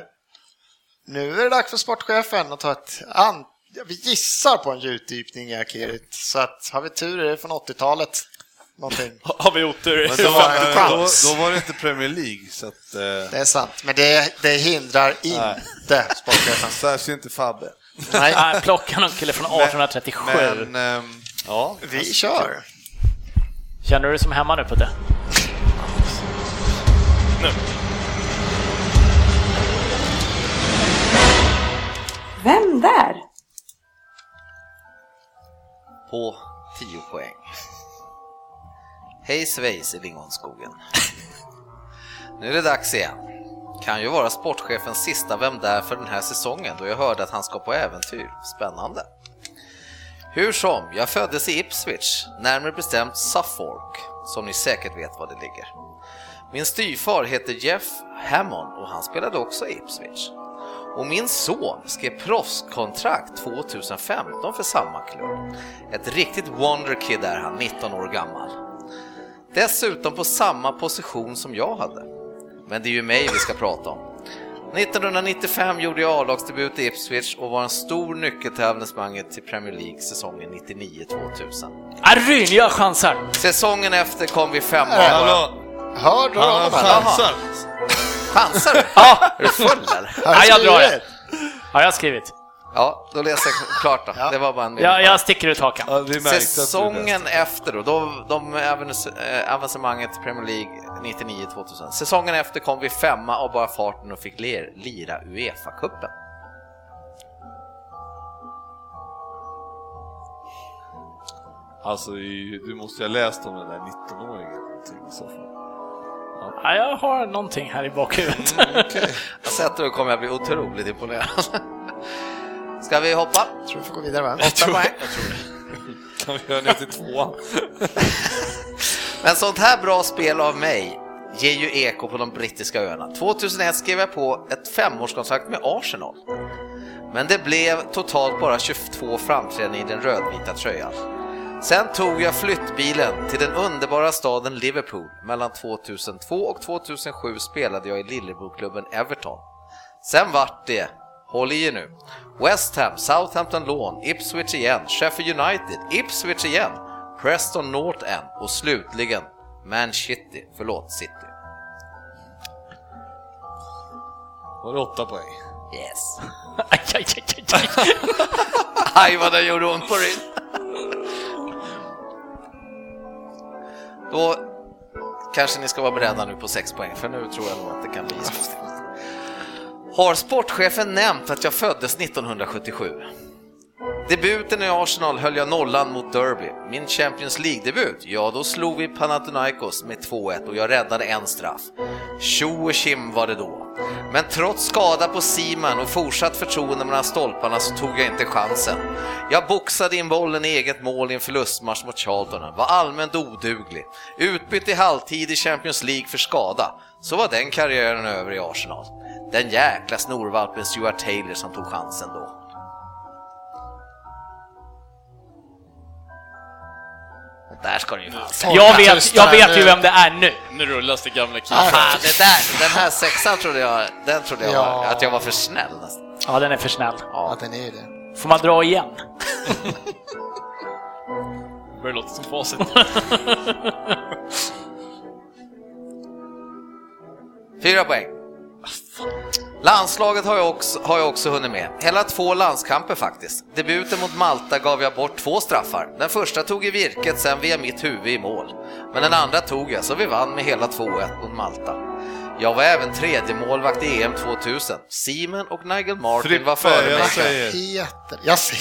Nu är det dags för sportchefen att ta ett an... ja, Vi gissar på en djupdykning i Akirit, så att har vi tur är det från 80-talet. Någonting. Har vi otur? Men då, Fan, var, då, chans. då var det inte Premier League, så att, eh, Det är sant, men det, det hindrar Nej. inte sportchefen. (laughs) särskilt inte Fabbe. Nej, Nej, (laughs) plocka någon kille från 1837. Men, ehm, ja, Alltså, vi kör. Känner du dig som hemma nu Putte? Vem där? På 10 poäng. Hej svejs i lingonskogen. Nu är det dags igen. Kan ju vara sportchefens sista Vem där för den här säsongen då jag hörde att han ska på äventyr. Spännande. Hur som, jag föddes i Ipswich, närmare bestämt Suffolk, som ni säkert vet var det ligger. Min styvfar heter Jeff Hammond och han spelade också i Ipswich. Och min son skrev proffskontrakt 2015 för samma klubb. Ett riktigt wonderkid är han, 19 år gammal. Dessutom på samma position som jag hade. Men det är ju mig vi ska prata om. 1995 gjorde jag A-lagsdebut i Ipswich och var en stor nyckel till avanemanget till Premier League säsongen 99-2000. Ah, Ryn, jag chansar! Säsongen efter kom vi femma. hallå, Hör du han honom? har eller? chansar. Chansar du? Ja, Är du full eller? ah, jag drar skriver. det. Ja, jag har skrivit. Ja, då läser jag klart då. Det var bara en Jag, jag sticker ut hakan. Ja, vi märkte att du Säsongen efter då, då de avance- eh, avancemanget till Premier League 99-2000. Säsongen efter kom vi femma av bara farten och fick ler, lira Uefa-cupen. Alltså, i- du måste ju ha läst om den där 19-åringen. till i så fall. Ja, jag har någonting här i bakhuvudet. Jag sett det då kommer jag bli otroligt imponerad. (laughs) Ska vi hoppa? Jag tror vi får gå vidare va? Åtta poäng. Kan vi göra ner till tvåan? Men sånt här bra spel av mig ger ju eko på de brittiska öarna. 2001 skrev jag på ett femårskontrakt med Arsenal. Men det blev totalt bara 22 framträdanden i den rödvita tröjan. Sen tog jag flyttbilen till den underbara staden Liverpool. Mellan 2002 och 2007 spelade jag i Lillebroklubben Everton. Sen vart det, håll i er nu, West Ham, Southampton Lawn, Ipswich igen, Sheffield United, Ipswich igen, Preston North End och slutligen Man City, förlåt City. (laughs) Var det åtta poäng? Yes. (laughs) Aj, aj, aj, aj, aj. Aj vad det gjorde ont på ryggen. (laughs) Då kanske ni ska vara beredda nu på 6 poäng, för nu tror jag nog att det kan bli svårt. Har sportchefen nämnt att jag föddes 1977? Debuten i Arsenal höll jag nollan mot Derby. Min Champions League-debut, ja då slog vi Panathinaikos med 2-1 och jag räddade en straff. Tjo och tjim var det då. Men trots skada på Seaman och fortsatt förtroende mellan stolparna så tog jag inte chansen. Jag boxade in bollen i eget mål i en förlustmatch mot Charlton, var allmänt oduglig. Utbytt i halvtid i Champions League för skada. Så var den karriären över i Arsenal. Den jäkla snorvalpen Stuart Taylor som tog chansen då. Och Där ska den ju fan sätta. Jag vet, tyst jag där vet ju nu. vem det är nu. Nu rullas det gamla Ah. kit. Fan, det där, den här sexan trodde jag, den trodde jag Ja. var, att jag var för snäll nästan. Ja, den är för snäll. Ja, den är ju det. Får man dra igen? Börjar låta som facit. Fyra poäng. Landslaget har jag, också, har jag också hunnit med. Hela två landskamper faktiskt. Debuten mot Malta gav jag bort två straffar. Den första tog i virket, sen via mitt huvud i mål. Men den andra tog jag, så vi vann med hela 2-1 mot Malta. Jag var även tredje målvakt i EM 2000. Simon och Nigel Martin Frippe, var före mig. jag säger... Peter. Jag ser.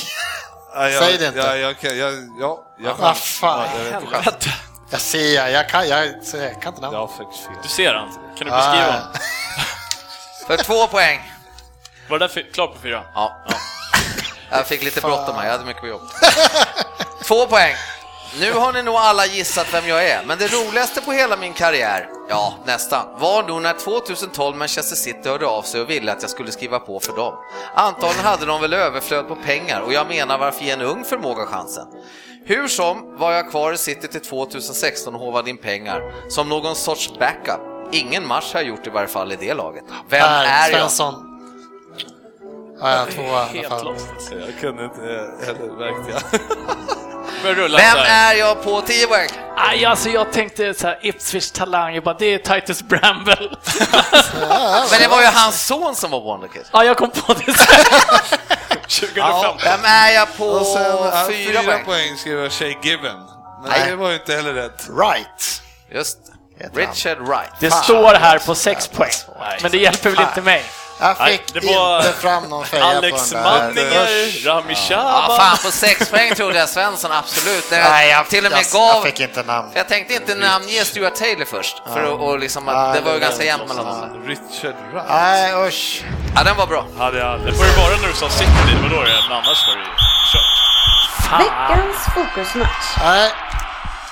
Ja, jag, Säg det inte. Ja, jag, kan- jag, ja, jag Vad fan. Ja, jag vet inte. Jag ser, jag kan, jag, så jag kan inte namnet. Jag har faktiskt fel. Du ser han. Kan du beskriva Ah. honom? För två poäng. Var det där för, klart på fyra? Ja. (laughs) Jag fick lite bråttom här, jag hade mycket på jobb. (laughs) Två poäng. Nu har ni nog alla gissat vem jag är, men det roligaste på hela min karriär, ja nästan, var nog när 2012 Manchester City hörde av sig och ville att jag skulle skriva på för dem. Antagligen hade de väl överflöd på pengar och jag menar varför ge en ung förmåga chansen? Hur som var jag kvar i City till 2016 och håvade in pengar, som någon sorts backup. Ingen match har jag gjort i varje fall i det laget. Vem Per är jag? Svensson. Ja, jag har två i alla Helt fall. lost. alltså. Jag kunde inte eh, heller, märkte jag. Börjar rulla Vem så här. är jag på 10 poäng? Aj, alltså jag tänkte så här, Ipswich talang, jag bara, det är Titus (laughs) Bramble. Men det var ju hans son som var Wonderkid. ja, jag kom på (laughs) det sen. 2015. Vem är jag på Och sen, ja, fyra poäng? skriver jag Shay Given. Men Nej. det var ju inte heller rätt. Right. Just Heter han. Richard Wright. Det står här på sex poäng, men det hjälper väl inte mig? Jag Nej, fick det var- inte fram någon feja Alex på den där. Manninger, Rami Ja, Shaba. fan på sex poäng trodde jag Svensson, absolut. Nej, Nej, jag, till och med jag, jag gav... fick inte namn. Jag tänkte inte namnge Stuart Taylor först, för att, och liksom att Nej, det var ju det ganska var jämnt mellan dem. Richard Wright. Nej, usch. Ja, den var bra. Ja, det hade- får det vara när du sa City, det var då det men annars var det ju kört. Ah, Veckans fokusmatch. Nej.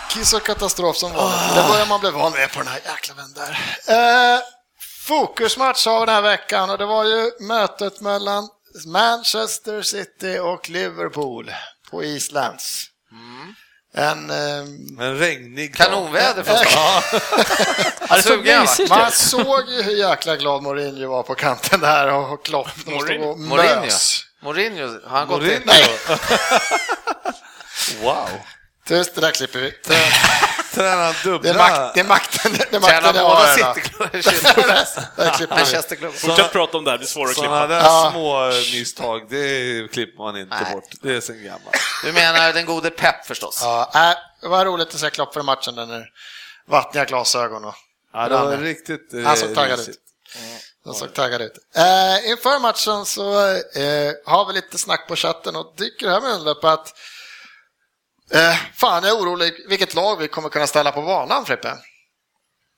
Kiss och katastrof som vanligt. Ah. Det börjar man bli van vid på den här jäkla vändan. Eh, fokusmatch av den här veckan och det var ju mötet mellan Manchester City och Liverpool på Islands. Mm. En, eh, Men regnig dag. Kanonväder för oss. (laughs) Ja, det såg Sugen, va? mysigt Man ut. såg ju hur jäkla glad Mourinho var på kanten där och och Klopp när de stod och Mourinho. mös. Mourinho, har han gått Mourinho. in? Nej, Wow. tyst, det där klipper (laughs) vi. Tränar Det dubbla. är, makt, det är makten, det är makten Tränar jag båda har här. då. (laughs) Cityklubbar? Det där klipper vi. Manchesterklubbar? Fortsätt prata om det här, det är svårare att Sådana klippa. där Ja. små eh, misstag, det klipper man inte Nej. bort. Det är sen gammalt. Du menar den gode Pep förstås? Ja, äh, det var roligt att se Klopp för matchen, den där vattniga glasögon och Ja, det var riktigt eh, Han såg taggad risigt. ut. Han såg taggad ut. Eh, inför matchen så eh, har vi lite snack på chatten och dyker här med en upp att eh, fan, jag är orolig vilket lag vi kommer kunna ställa på banan, Frippe.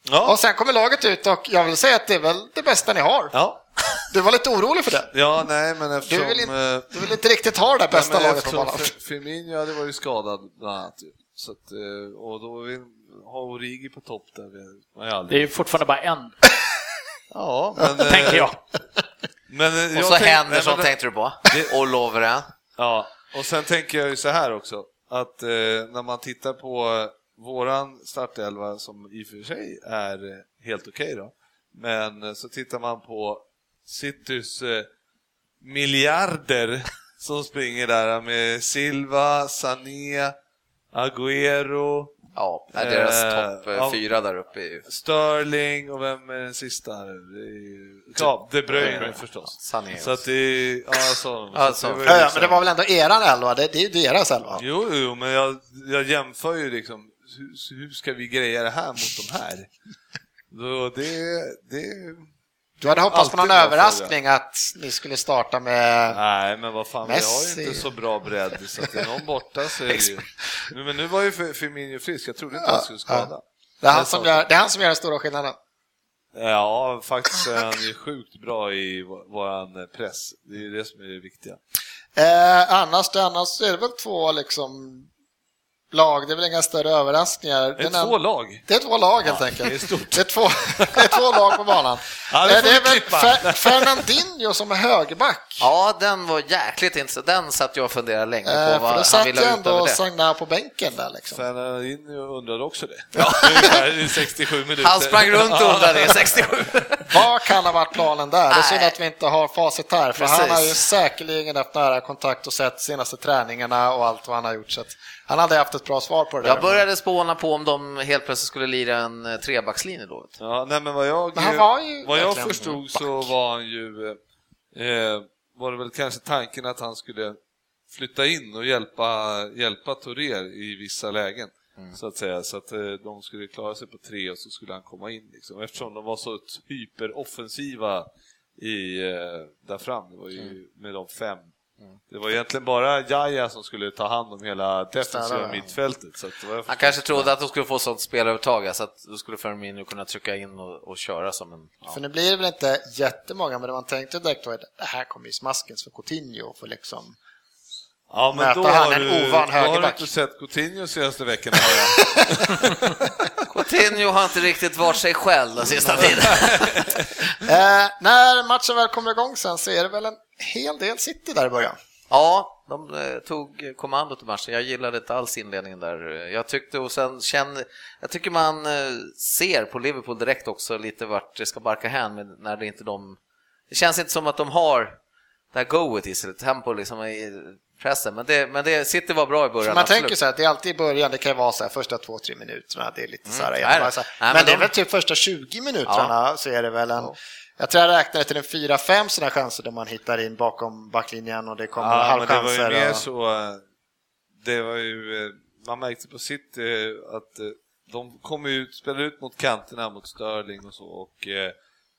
Ja. Och sen kommer laget ut och jag vill säga att det är väl det bästa ni har. Ja. Du var lite orolig för det. ja, nej men eftersom... Du vill inte, eh, du vill inte riktigt ha det där bästa Nej, men laget på eftersom banan. Fe- Firmino hade varit skadad bland annat. ju. Så att, eh, och då vill ha Origi på topp där. vi- Man är Det är aldrig. ju fortfarande bara en, Ja, men, eh, tänker (laughs) jag. Men, eh, jag Och så tänk- Henderson nej, men- tänkte du på? (laughs) Och Lovren? Ja, och sen tänker jag ju så här också, att eh, när man tittar på eh, våran startelva, som i och för sig är eh, helt okej då, men eh, så tittar man på Citys eh, miljarder som springer där med Silva, Sané, Agüero, Ja, nej, deras Eh, topp eh, ja. fyra där uppe är ju Sterling och vem är den sista? Det är ju- Ja, Typ De Bruyne förstås. Sané. Så att det är... Ja, jag sa dem. Ja, Så att så. var ju Ja, ja, liksom- men det var väl ändå eran elva? Det, det är ju deras elva. Jo, jo men jag, jag jämför ju liksom, hur, hur ska vi greja det här mot de här? Då det, det... Du hade hoppats på Alltid någon bra fråga. överraskning att ni skulle starta med... Nej, men vad fan, vi har Messi. ju inte så bra bredd, så att det är någon borta så är det ju... Nu, men nu var ju F- Firmino frisk, jag trodde inte han skulle skada. Det är, han det som sa gör, det är han som gör den stora skillnaden. Ja, faktiskt är han ju sjukt bra i vå- våran press. Det är ju det som är det viktiga. Eh, annars, annars är det väl två liksom lag. Det är väl inga större överraskningar. Det är Den två en- lag. Det är två lag helt enkelt. det är stort. Det är två, det är två lag på banan. Ja, det Eh, får vi är väl klippa. Fer- Fernandinho som är högerback. Ja, den var jäkligt intressant. Den satt jag och funderade länge på Eh, vad För då han satt ju ville ha ut över ändå det. Sagna på bänken där liksom. Fernandinho undrade också det. (laughs) Ungefär i 67 minuter. Han sprang runt och (laughs) undrade i 67. Vad kan ha varit planen där? Det är synd Nej. att vi inte har facit här, för han Precis. har ju säkerligen haft nära kontakt och sett senaste träningarna och allt vad han har gjort. Så att han hade haft ett bra svar på det där. Jag började spåna på om de helt plötsligt skulle lira en eh, trebackslinje då. Ja, nej, men vad jag, Men han var ju vad jag verkligen förstod så var han ju, eh, eh, var det väl kanske tanken att han skulle flytta in och hjälpa, hjälpa Torér i vissa lägen. Mm. Så att säga, så att eh, de skulle klara sig på tre och så skulle han komma in. Liksom. Eftersom de var så hyperoffensiva i, eh, där fram, det var ju Mm. med de fem. Det var egentligen bara Jaja som skulle ta hand om hela Städa, defensiva ja. mittfältet. Så att det var jag Han kanske trodde att de skulle få sånt spelövertag, ja, så att då skulle Firmino kunna trycka in och, och köra som en... Ja. För nu blir det väl inte jättemånga, men det man tänkte direkt var att det här kommer ju smaskens för Coutinho. För liksom. Ja, men Möta då han, har, en du, ovan då har du högerback. inte sett Coutinho senaste veckan har (laughs) jag. Coutinho har inte riktigt varit sig själv den sista tiden. eh, när matchen väl kommer igång sen så är det väl en hel del City där i början. Ja, de eh, tog kommandot i matchen. Jag gillade inte alls inledningen där. Jag tyckte och sen kände, jag tycker man eh, ser på Liverpool direkt också lite vart det ska barka hän men när det inte de, det känns inte som att de har det här goet i sig, tempo liksom i pressen. Men det, men det, City var bra i början. Man tänker så här, det är alltid i början, det kan ju vara så här första två, tre minuterna, det är lite så här, Mm, jag nej då. bara så här. Nej, men, men det är de- väl typ första 20 minuterna så är det väl en, jag tror jag räknade till en 4-5 sådana chanser där man hittar in bakom backlinjen och det kommer ja, men det var ju halvchanser. mer och... så, eh, det var ju, eh, man märkte på sitt att eh, de kom ut, spelade ut mot kanterna mot Sterling och så, och, eh,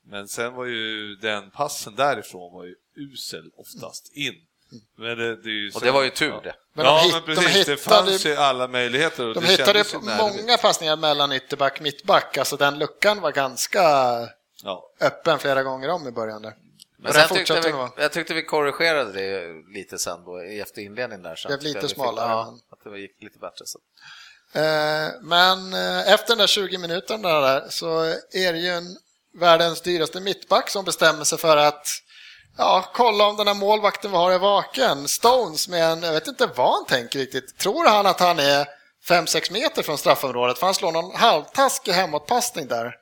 men sen var ju den passen därifrån var ju usel oftast in. Men det, det är ju Och det var ju tur ja. det. Men ja, de hit- men de precis, det hittade- fanns ju alla möjligheter. Och De det hittade kändes ju ju närligt. många passningar mellan ytterback och mittback, alltså den luckan var ganska Ja. öppen flera gånger om i början där. Men och den sen tyckte fortsatte vi, nog. jag tyckte vi korrigerade det lite sen då i- efter inledningen där. Så Det att blev lite vi fick- smalare, Ja, men- att det gick lite bättre. Så. Eh, Men eh, efter den där 20 minuterna där så är det ju en världens dyraste mittback som bestämmer sig för att ja, kolla om den här målvakten vi har är vaken. Stones med en, jag vet inte vad han tänker riktigt. Tror han att han är 5-6 meter från straffområdet? För han slår någon halvtaskig hemåtpassning där.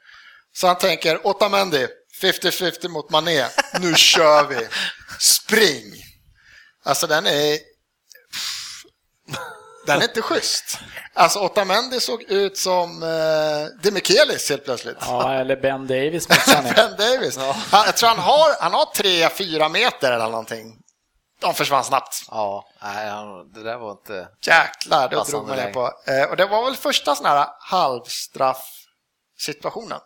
Så han tänker Otamendi, 50-50 mot Mané, nu kör vi, spring! Alltså den är den är inte schysst. Alltså Otamendi såg ut som eh, Demichelis helt plötsligt. Ja, eller Ben Davis mot (laughs) Sané. Ben Davis. Han, jag tror han har, han har tre, fyra meter eller någonting. De försvann snabbt. Ja, nej, han- det där var inte... Jäklar, då Passande drog man det läge. på. Eh, och det var väl första sån här halvstraffsituationen.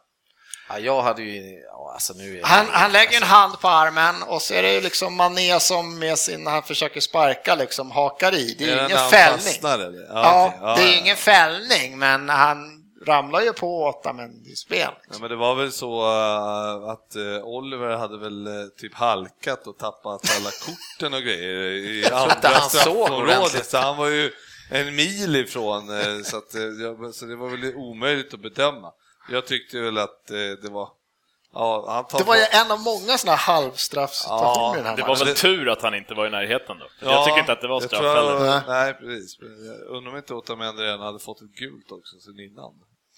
Ja, jag hade ju... Ja, alltså nu är Han, han lägger en hand på armen och så är det ju liksom Mané som med sin, när han försöker sparka liksom hakar i. Det är, ju den ingen han fällning. fastnar, eller? Ja, Ja, okej. Ja, det är ja. ingen fällning, men han ramlar ju på Otamendi-spel. Ja, Liksom. men det var väl så eh, att eh, Oliver hade väl eh, typ halkat och tappat alla (laughs) korten och grejer i andra han såg straffområdet. ordentligt. Så han var ju en mil ifrån, eh, så, att, eh, ja, men så det var väl omöjligt att bedöma. Jag tyckte väl att eh, det var... Ja, han tar Det var ju bort- en av många sådana här halvstraffsituationer Ja, i den här Det matchen. var väl det- tur att han inte var i närheten då. Ja, jag tycker inte att det var jag straff tror jag- heller. Nej, precis. Jag undrar om inte Otamendi redan hade fått ett gult också sen innan.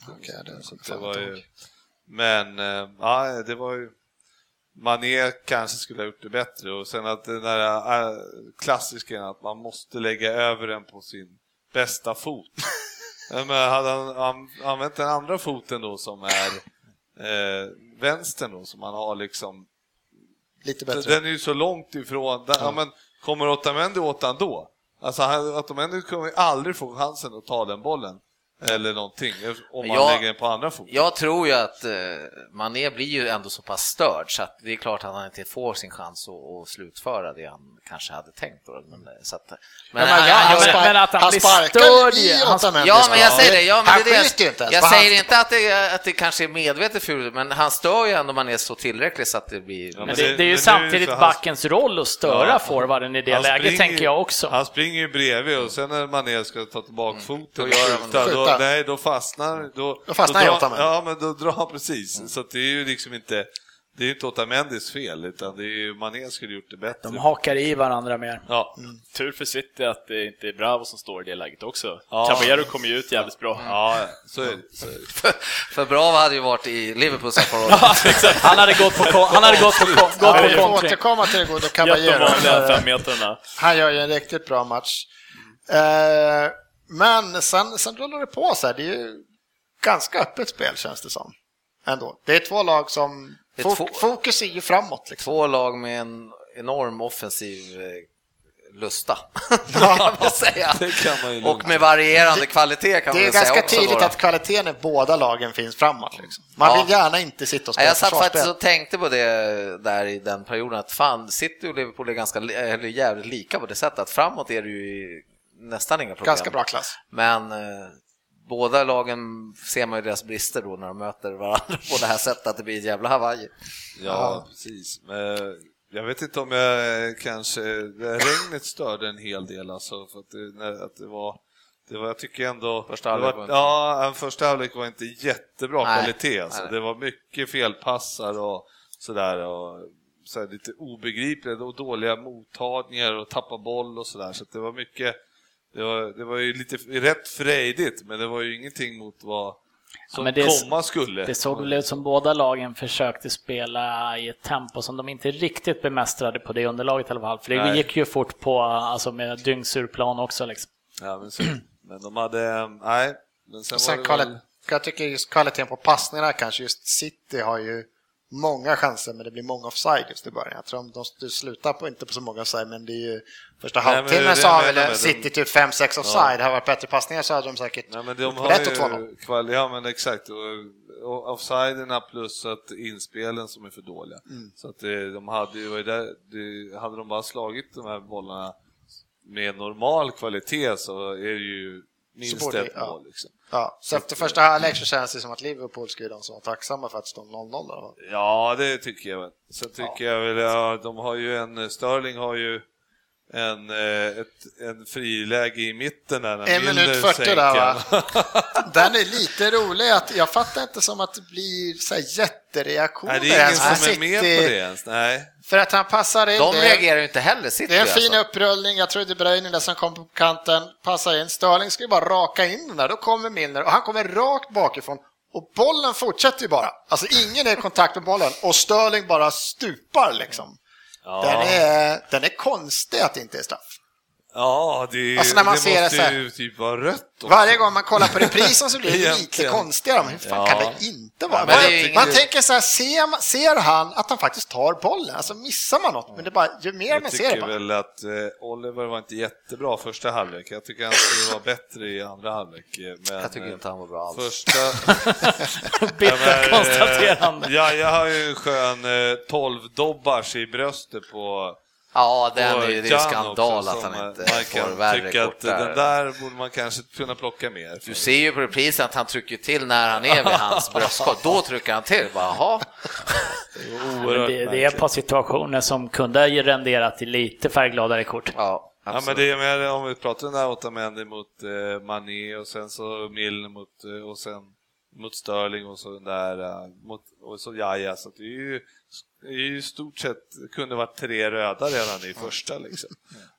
Okej, det Så att fan det var inte ju... ihåg. Men eh, ja, det var ju... Mané kanske skulle ha gjort det bättre och sen att den där eh, klassiska att man måste lägga över den på sin bästa (laughs) fot. Ja, Men hade han an- använt den andra foten då som är eh, vänstern då som han har liksom Lite den- bättre. Den är ju så långt ifrån. Den, ja. men, kommer Otamendi åt den då? Alltså han- Otamendi kommer ju aldrig få chansen att ta den bollen. eller någonting. Om man Jag- lägger den på andra foten. Jag tror ju att eh, Mané blir ju ändå så pass störd så att det är klart att han inte får sin chans att, att slutföra det han kanske hade tänkt. Då. Men, eh, så att, men, han- ja, han men- gör- men att han blir sparkar stöd, i han- Otamendi. Ja, men jag säger det. Ja, men han det är det. skjuter ju inte ens Jag på säger hans- inte att det, är- att det kanske är medvetet fult, men han stör ju ändå man är så tillräcklig så att det blir... Ja, Men men det, det- det är ju men nu är det samtidigt så här- backens roll att störa Ja. forwarden i det Han läget, springer- tänker jag också. Han springer ju bredvid och sen när Mané ska ta tillbaka foten och Mm. Då gör han skjuta, det. då, Skjuta. nej, då fastnar då, Då fastnar drar- Otamendi. Mm. Ja, men då drar han precis. Så att det är ju liksom inte, det är ju inte Otamendis fel, utan det är ju Mané skulle gjort det bättre. De hakar i varandra mer. Ja, Mm. Tur för City att det inte är Bravo som står i det läget också. Ja. Caballero kom ju ut jävligt bra. ja, så är det. Så är det. (laughs) För Brava hade ju varit i Liverpool sen förra året. Han hade gått på, kon- han hade gått på, kon- gått Ja, vi på får kontring. återkomma till det gode Jätte Caballero. vanliga femmetrarna. Han gör ju en riktigt bra match. Eh, Men sen, sen rullar det på så här. Det är ju ganska öppet spel känns det som. Ändå. Det är två lag som... Det är fok- två- Fokus är ju framåt liksom. Två lag med en enorm offensiv eh, lusta, (laughs) kan man säga. Det kan man ju lugnt Och med varierande kvalitet kan Det man är väl säga ganska också tydligt då. att kvaliteten i båda lagen finns framåt. Liksom. Man Ja. vill gärna inte sitta och Ja, spela jag satt faktiskt försvarsspel. och tänkte på det där i den perioden att fan, City och Liverpool är ganska, li- eller jävligt lika på det sättet att framåt är det ju nästan inga problem. Ganska bra klass. Men eh, båda lagen ser man ju deras brister då när de möter varandra på det här sättet att det blir ett jävla Hawaii. Ja, precis. Men jag vet inte om jag eh, kanske... det här Regnet störde en hel del alltså, för att det, när, att det var... Det var, jag tycker ändå... Första det halvlek var var, inte- Ja, en första halvlek var inte jättebra Nej, kvalitet. Alltså. nej. Det var mycket felpassar och sådär. Och, så här, lite obegripliga och dåliga mottagningar och tappa boll och sådär. Så att det var mycket... Det var, det var ju lite rätt frejdigt, men det var ju ingenting mot vad som men det är- komma skulle. Det såg väl ut som båda lagen försökte spela i ett tempo som de inte riktigt bemästrade på det underlaget i alla fall. För det Nej. gick ju fort på, alltså med dyngsur plan också (laughs) liksom. Ja, men, så, men de hade... eh, Nej. Men sen Och var sen det kvali- väl- jag tycker just kvaliteten på passningarna kanske, just City har ju många chanser men det blir många offside just i början. Jag tror de, de, de slutar på, inte på så många offside men det är ju första Nej, men det är halvtimmen det så jag har menar väl med City dem. typ 5-6 offside. Hade det varit bättre passningar så hade de säkert Nej, men de gjort har rätt ju åt honom. kvali- Ja, men exakt. Och- och Offsiderna plus att inspelen som är för dåliga. Mm. Så att eh, de hade ju, var ju där, det- hade de bara slagit de här bollarna med normal kvalitet så är det ju Så minst borde- ett ja. mål. Liksom. Ja, så efter första halvlek så känns det som att Liverpool skulle de som var tacksamma för att stå 0-0. (laughs) då. Ja, det tycker jag väl. Så tycker jag väl, ja, de har ju en, Sterling har ju en, eh, ett, en friläge i mitten där när En minut Milner 40 där, sänker. va? (laughs) Den är lite rolig, att jag fattar inte som att det blir så här jättereaktioner. Nej, det är ingen ens när som är med City- på det ens. Nej. För att han passar in. De det- reagerar ju inte heller, City Det är en fin alltså. upprullning. Jag tror De Bruyne där som kom på kanten passar in. Sterling ska ju bara raka in den där. Då kommer Milner och han kommer rakt bakifrån. Och bollen fortsätter ju bara. Alltså ingen är i kontakt med bollen och Sterling bara stupar liksom. Den, är, den är konstig att det inte är straff. Ja, det, Alltså, när man det ser det måste så här- ju typ vara rött också. Varje gång man kollar på reprisen så blir det lite Egentligen. konstigare. Men hur fan Ja. kan det inte vara? Ja, men det är man, ju ingen- man tänker så här, ser, man- ser han att han faktiskt tar bollen? Alltså missar man något? Men det är bara, ju mer man Jag ser det tycker bara. väl att eh, Oliver var inte jättebra första halvlek. Jag tycker han skulle vara bättre i andra halvlek. eh, Men, Jag tycker inte han var bra alls. Första... (laughs) Bittert konstaterande. Eh, ja, jag har ju en skön eh, 12 dobbars i bröstet på Ja, den på är ju, det är ju Can skandal också, att som, eh, han inte man kan får värre tycka kort att Den där. där borde man kanske kunna plocka mer. Du ser ju på reprisen att han trycker till när han är vid hans bröstkorg. Då trycker han till. Bara, Jaha, Men Det, det är ett par situationer som kunde ha renderat i lite färggladare kort. Ja, Ja, men det är med, om vi pratar den där Otamendi mot eh, Mané och sen så Milner mot, eh, och sen mot Sterling och så den där eh, mot, och så Jaja. Så att det är ju det är ju i stort sett, kunde varit tre röda redan i första liksom.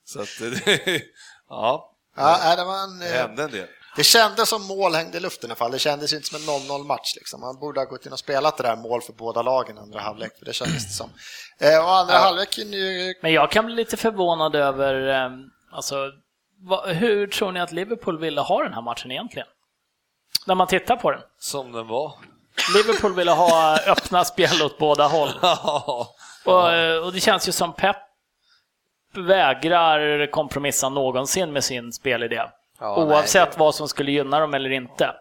Så att det, (laughs) ja, Ja, nej, det var en, det eh, hände en del. Det kändes som mål hängde i luften i alla fall. Det kändes ju inte som en 0-0 match. Liksom. Man borde ha gått in och spelat det där mål för båda lagen i andra halvlek. För det kändes det som. Eh, och andra halvlek är ju... Men jag kan bli lite förvånad över, eh, alltså, vad, hur tror ni att Liverpool ville ha den här matchen egentligen? När man tittar på den. Som den var. (laughs) Liverpool ville ha öppna spel åt båda håll. Och, eh, och det känns ju som Pep vägrar kompromissa någonsin med sin spelidé. Ja, oavsett vad som skulle gynna dem eller inte.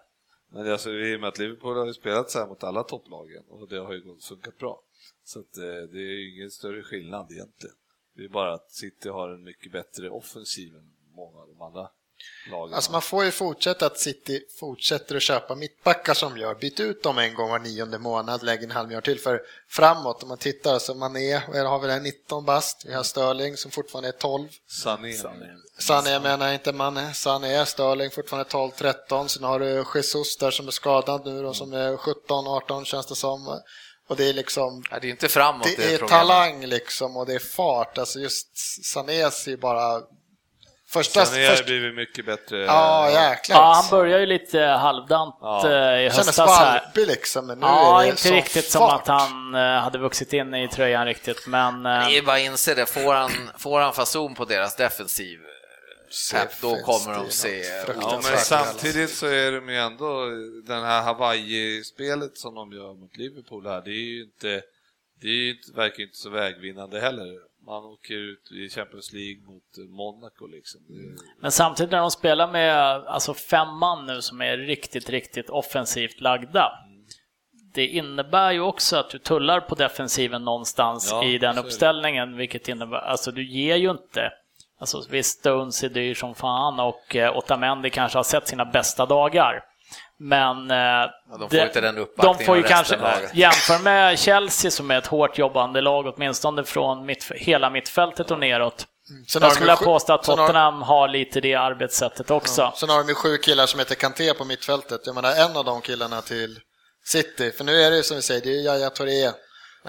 Men det är alltså, I och med att Liverpool har ju spelat så här mot alla topplagen och det har ju gått- funkat bra. Så att, eh, det är ju ingen större skillnad egentligen. Det är bara att City har en mycket bättre offensiv än många av de andra lagen. Alltså man får ju fortsätta att City fortsätter att köpa mittbackar som gör. Byt ut dem en gång var nionde månad, lägg en halv miljard till för framåt. Om man tittar så Mané, och här har vi där 19 bast, vi har Sterling som fortfarande är 12. Sané. Sané menar jag inte Mané, Sané, Sterling fortfarande 12, 13. Sen har du Jesus där som är skadad nu då som är 17, 18 känns det som. Och det är liksom, Nej, det är inte framåt det är problemet. talang liksom och det är fart. Alltså just Sané ser ju bara... Första, Sané har ju första, blivit mycket bättre. ja jäklar. Ja, han börjar ju lite halvdant Ja. eh, i kändes höstas här. valpig liksom, men nu är Ja, det inte sån riktigt som fart. att han eh, hade vuxit in i tröjan riktigt, men... eh, Det är bara att inse det, får han, får han fason på deras defensiv, Pep, då kommer de se... Ja, men samtidigt så är de ju ändå, den här Hawaii-spelet som de gör mot Liverpool här, det är ju inte, det är ju inte, verkar ju inte så vägvinnande heller. Man åker ut i Champions League mot Monaco liksom. Men samtidigt när de spelar med alltså fem man nu som är riktigt, riktigt offensivt lagda. Det innebär ju också att du tullar på defensiven någonstans Ja, i så den är det. uppställningen, vilket innebär, alltså du ger ju inte Alltså visst, Stones är dyr som fan och eh, Otamendi kanske har sett sina bästa dagar. Men eh, de får det- inte den uppbackningen de får ju av resten kanske, av laget. jämför med Chelsea som är ett hårt jobbande lag, åtminstone från mitt, hela mittfältet och neråt. Sen har Jag de skulle ju vilja sju- påstå att sen har- Tottenham har lite det arbetssättet också. Sen har de ju sju killar som heter Kanté på mittfältet. Jag menar en av de killarna till City. För nu är det ju som vi säger, det är ju Yahya Touré Men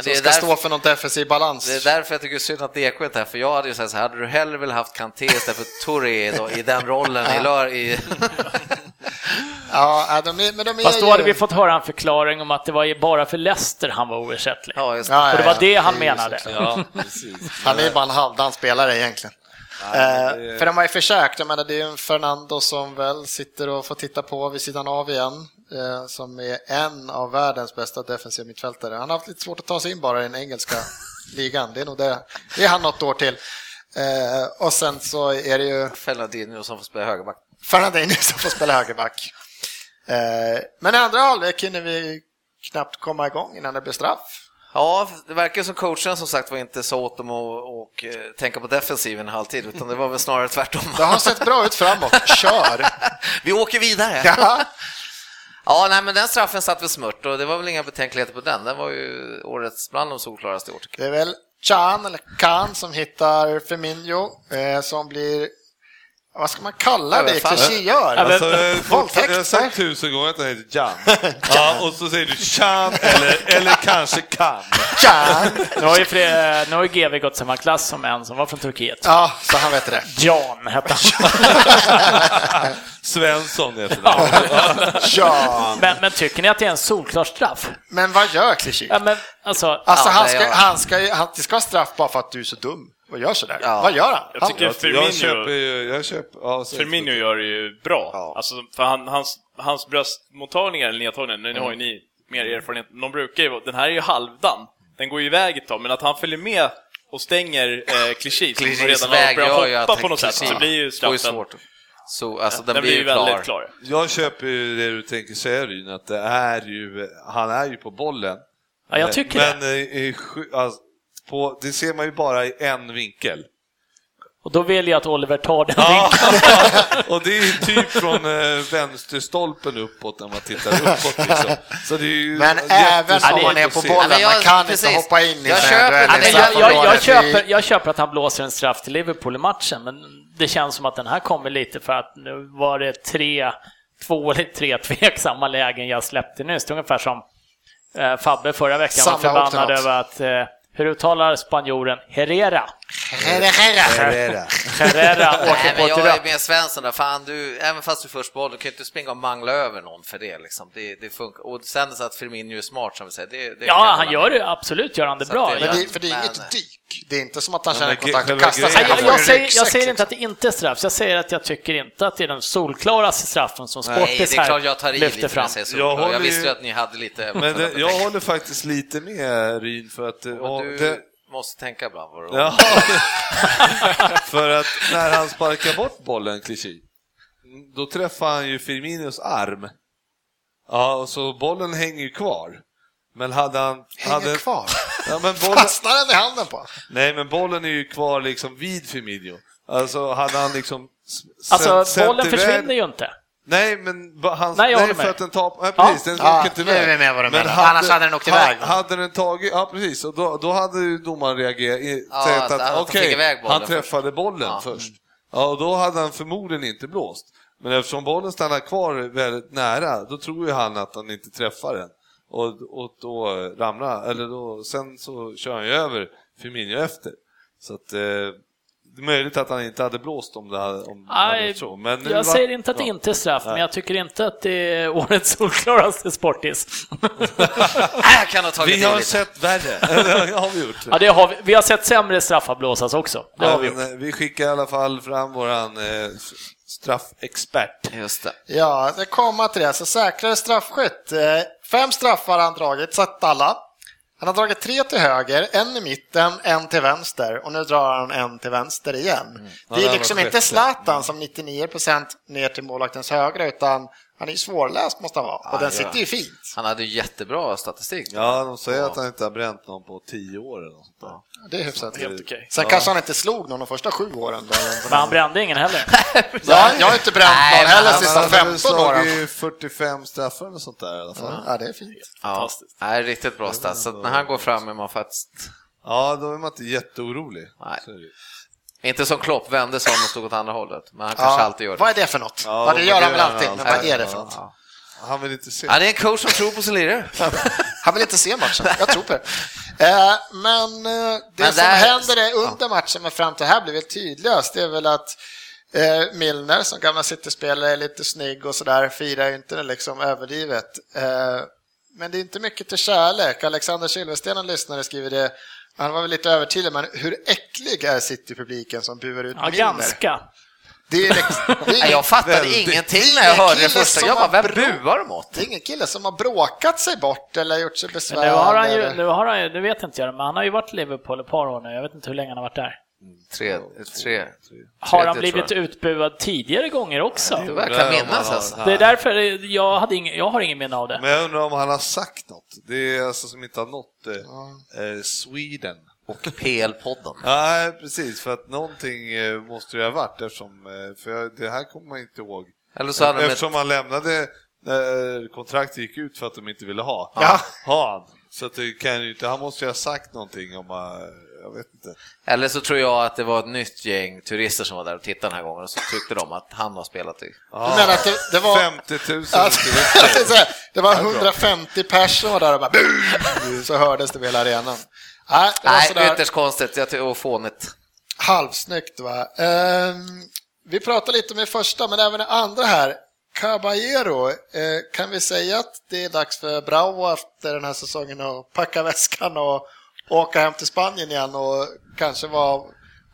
som det är ska därför- stå för någon defensiv balans. Det är därför jag tycker synd att DK inte är här, för jag hade ju sagt så här, hade du hellre velat haft Kanté istället för Touré då, i den rollen i lör i... Ja, äh, de är, men de är Fast då ju- hade vi fått höra en förklaring om att det var ju bara för Leicester han var oersättlig. Ja, just Ja, Och det var det han är ju menade. såklart. Ja, precis. Han är ju bara en halvdan spelare egentligen. Eh, det- För de har ju försökt, jag menar det är ju en Fernando som väl sitter och får titta på vid sidan av igen, eh, som är en av världens bästa defensiva mittfältare. Han har haft lite svårt att ta sig in bara i den (laughs) engelska ligan, det är nog det. Det är han något år till. Eh, Och sen så är det ju Fernandinho som får spela högerback. Fernandinho som får spela högerback. Eh, Men i andra halvlek hinner vi knappt komma igång innan det blir straff. Ja, det verkar som coachen som sagt var inte sa åt dem att och, eh, tänka på defensiven halvtid, utan det var väl snarare tvärtom. Det har sett bra ut framåt, kör! (laughs) Vi åker vidare! (laughs) Ja. Ja, nej, men den straffen satt väl smört och det var väl inga betänkligheter på den. Den var ju årets bland de solklaraste i år tycker Det är väl Chan, eller Khan, som hittar Firmino, eh, som blir, vad ska man kalla det Överfall. Klichéör? Alltså, Alltså, jag har Våldtäkter? sagt tusen gånger att han heter Jan. Ja, och så säger du Chan eller, eller kanske Kan. Chan! Nu har ju, Fre- nu har ju GV gått samma klass som en som var från Turkiet. Ja, så han vet det. Jan hette (laughs) han. Svensson heter han. Ja. Men, men tycker ni att det är en solklar straff? Men vad gör Kliché? Ja, men alltså, Alltså, Ja, han det ska, gör han. han ska, ju- han, det ska vara straff bara för att du är så dum och gör sådär. Ja. Vad gör han? Jag han tycker Jag köper Firmino, ju... Jag köper, ja, så- Firmino gör det ju bra. Ja. Alltså, för han, hans, hans bröstmottagningar, eller nedtagningar, nu har ju ni mer erfarenhet, men de brukar ju vara- den här är ju halvdan. Den går ju iväg ett tag, men att han följer med och stänger eh, Clichy som jag. redan har ju börjat att hoppa på något sätt, Klichi så blir ju får straffen... svårt. Så, alltså, den, Den blir ju väldigt klar. Jag köper ju det du tänker säga Ryn, att det är ju, han är ju på bollen. ja, jag tycker Men det. eh, i sju- alltså, på, det ser man ju bara i en vinkel. (laughs) Och då vill jag att Oliver tar den vinkeln. Och det är ju typ från eh, vänsterstolpen uppåt när man tittar uppåt. Liksom. Så det är ju Men jättesvårt även om att man är på se. bollen, Nej, men man jag- kan precis. inte hoppa in i Jag såna köper- här dueller Ja, i men Alltså, jag, jag, jag, straffområdet. köper, jag köper att han blåser en straff till Liverpool i matchen, men det känns som att den här kommer lite för att nu var det tre, två eller tre tveksamma lägen jag släppte nyss. Det är Ungefär som eh, Fabbe förra veckan var Samla ihop förbannad det något. över att eh, hur uttalar spanjoren Herrera? Herre, herre. Herrera (laughs) Nej, åker men på ett jag är rött. med Svensson där, fan du, även fast du först bollen, du kan ju inte springa och mangla över någon för det liksom. Det, det funkar. Och sen så att Firmino är smart som vi säger. Det, det kan Ja, jag han hålla gör med. det. Absolut gör han det Så bra. att det- Men Jag, det, för det är Men- inget dyk. Det är inte som att han Ja, känner men kontakt och själva kastar sig. Nej, grejen- jag, Han får jag, en säger, jag ryggsäck, säger liksom. inte att det inte är straff, jag säger att jag tycker inte att det är den solklaraste straffen som Nej, Sportis det är här klart jag tar i lyfter lite när fram. jag säger så. Jag Jag, håller ju- visste ju att ni hade lite... Men det, jag håller faktiskt lite med Ryn för att... eh, och Men du det, måste tänka ibland vad (laughs) du Ja. för att när han sparkar bort bollen, Clichy, då träffar han ju Firminos arm. Ja, och så bollen hänger ju kvar. Men hade han... Hänger hade, kvar. Ja, men bollen, Fastnar den i handen på? nej, men bollen är ju kvar liksom vid Firmino. Alltså, hade han liksom... s- sänt- Alltså, sänt bollen iväg- försvinner ju inte. Nej, men ba- han, Nej, jag nej håller för med. att den tar... Nej, precis, den Ja, åker inte nu är vi med vad du Men menar. Annars hade den åkt ha- iväg. Hade den tagit, ja precis, och då, då hade ju domaren reagerat, i- Ja, sagt att han- att att han fick okej, iväg bollen han träffade bollen först. Ja, och då hade han förmodligen inte blåst. Men eftersom bollen stannar kvar väldigt nära, då tror ju han att han inte träffar den. Och, och då ramlar, eller då, sen så kör han ju över Firmino efter. Så att, eh, det är möjligt att han inte hade blåst om det hade, om det hade Aj, varit så. Men nu jag var- säger inte att det ja. inte är straff, men jag tycker inte att det är (laughs) årets solklaraste (laughs) sportis. Nej, jag kan ha tagit Vi i har lite. sett (laughs) värre. det har vi gjort. ja, det har vi. vi har sett sämre straffar blåsas också. Det har vi gjort. Men, eh, vi skickar i alla fall fram våran eh, s- straffexpert. Just det. Ja, det kommer till det. Så säkrare straffskytt. Eh, Fem straffar har han dragit, satt alla. Han har dragit tre till höger, en i mitten, en till vänster och nu drar han en till vänster igen. det det är här liksom var inte sjätte. Zlatan som 99% ner till målvaktens högra utan han är ju svårläst måste han vara och den ja. sitter ju fint. Han hade ju jättebra statistik. Ja, de säger att han inte har bränt någon på tio år eller något sånt där. Det är hyfsat. Helt okej. Sen kanske han inte slog någon de första sju åren. Där. Men han brände ingen (laughs) heller. Ja, jag har inte bränt Nej, någon men heller han- sista han hade väl 15 åren. slagit 45 straffar eller sånt där i alla fall. Ja, Ja, det är fint. Ja. Fantastiskt. Nej, riktigt bra stats. Så att när han går fram är man faktiskt... då är man inte jätteorolig. Nej. Så är det ju. Inte som Klopp, vände sig om och stod åt andra hållet. Men han kanske alltid gör det. Vad är det för något? Ja, Ja, det vad gör han väl gör han alltid, men alltid? vad är det Ja. för något? Han vill inte se. Ja, det är en coach som tror på sin lirare. Han vill inte se matchen, jag tror på (laughs) det. Eh, Men eh, det Men som där- händer är under matchen, men fram till här blir väl tydligast, det är väl att eh, Milner som gammal City-spelare är lite snygg och sådär, firar ju inte det liksom överdrivet. Eh, Men det är inte mycket till kärlek. Alexander Silversten, en lyssnare, skriver det, han var väl lite övertydlig, men hur äcklig är City-publiken som buar ut Ja, Milner? ganska. Det är, (laughs) liksom- det Nej, är jag fattade Väldigt. ingenting när jag hörde det Kille första. som Jag bara, har vem bra- buar de åt? Det är ingen kille som har bråkat sig bort eller gjort sig besvär. Men nu har han ju, eller- nu har han ju, nu vet inte jag men han har ju varit i Liverpool ett par år nu. Jag vet inte hur länge han har varit där. Tre, tre. Har Tredje, han blivit tror utbuad tidigare gånger också? Du Undrar verkar om han minnas har- alltså. Det är därför jag, hade ing, jag har ingen minne av det. Men jag undrar om han har sagt något. Det är alltså som inte har nått eh, eh, Sweden. Och PL-podden. Nej, precis. För att någonting eh, måste det ha varit eftersom, eh, för jag- det här kommer man inte ihåg. Eller så hade de ett... eftersom han lämnade när kontraktet gick ut för att de inte ville ha, Ja. ha han. Så att det kan ju inte, han måste ju ha sagt någonting om, eh, jag vet inte. Eller så tror jag att det var ett nytt gäng turister som var där och tittade den här gången och så tyckte de att han har spelat i. Du menar att det, det var... 50 000 Alltså, det, är turister. (laughs) så här, det var 150 personer där och bara "Bum!" så hördes det över hela arenan. Nej, det var Nej, sådär ytterst konstigt jag ty- och fånigt. halvsnyggt va. Ehm, vi pratade lite om det första men även det andra här. Caballero, eh, kan vi säga att det är dags för Bravo efter den här säsongen att packa väskan och åka hem till Spanien igen och kanske vara,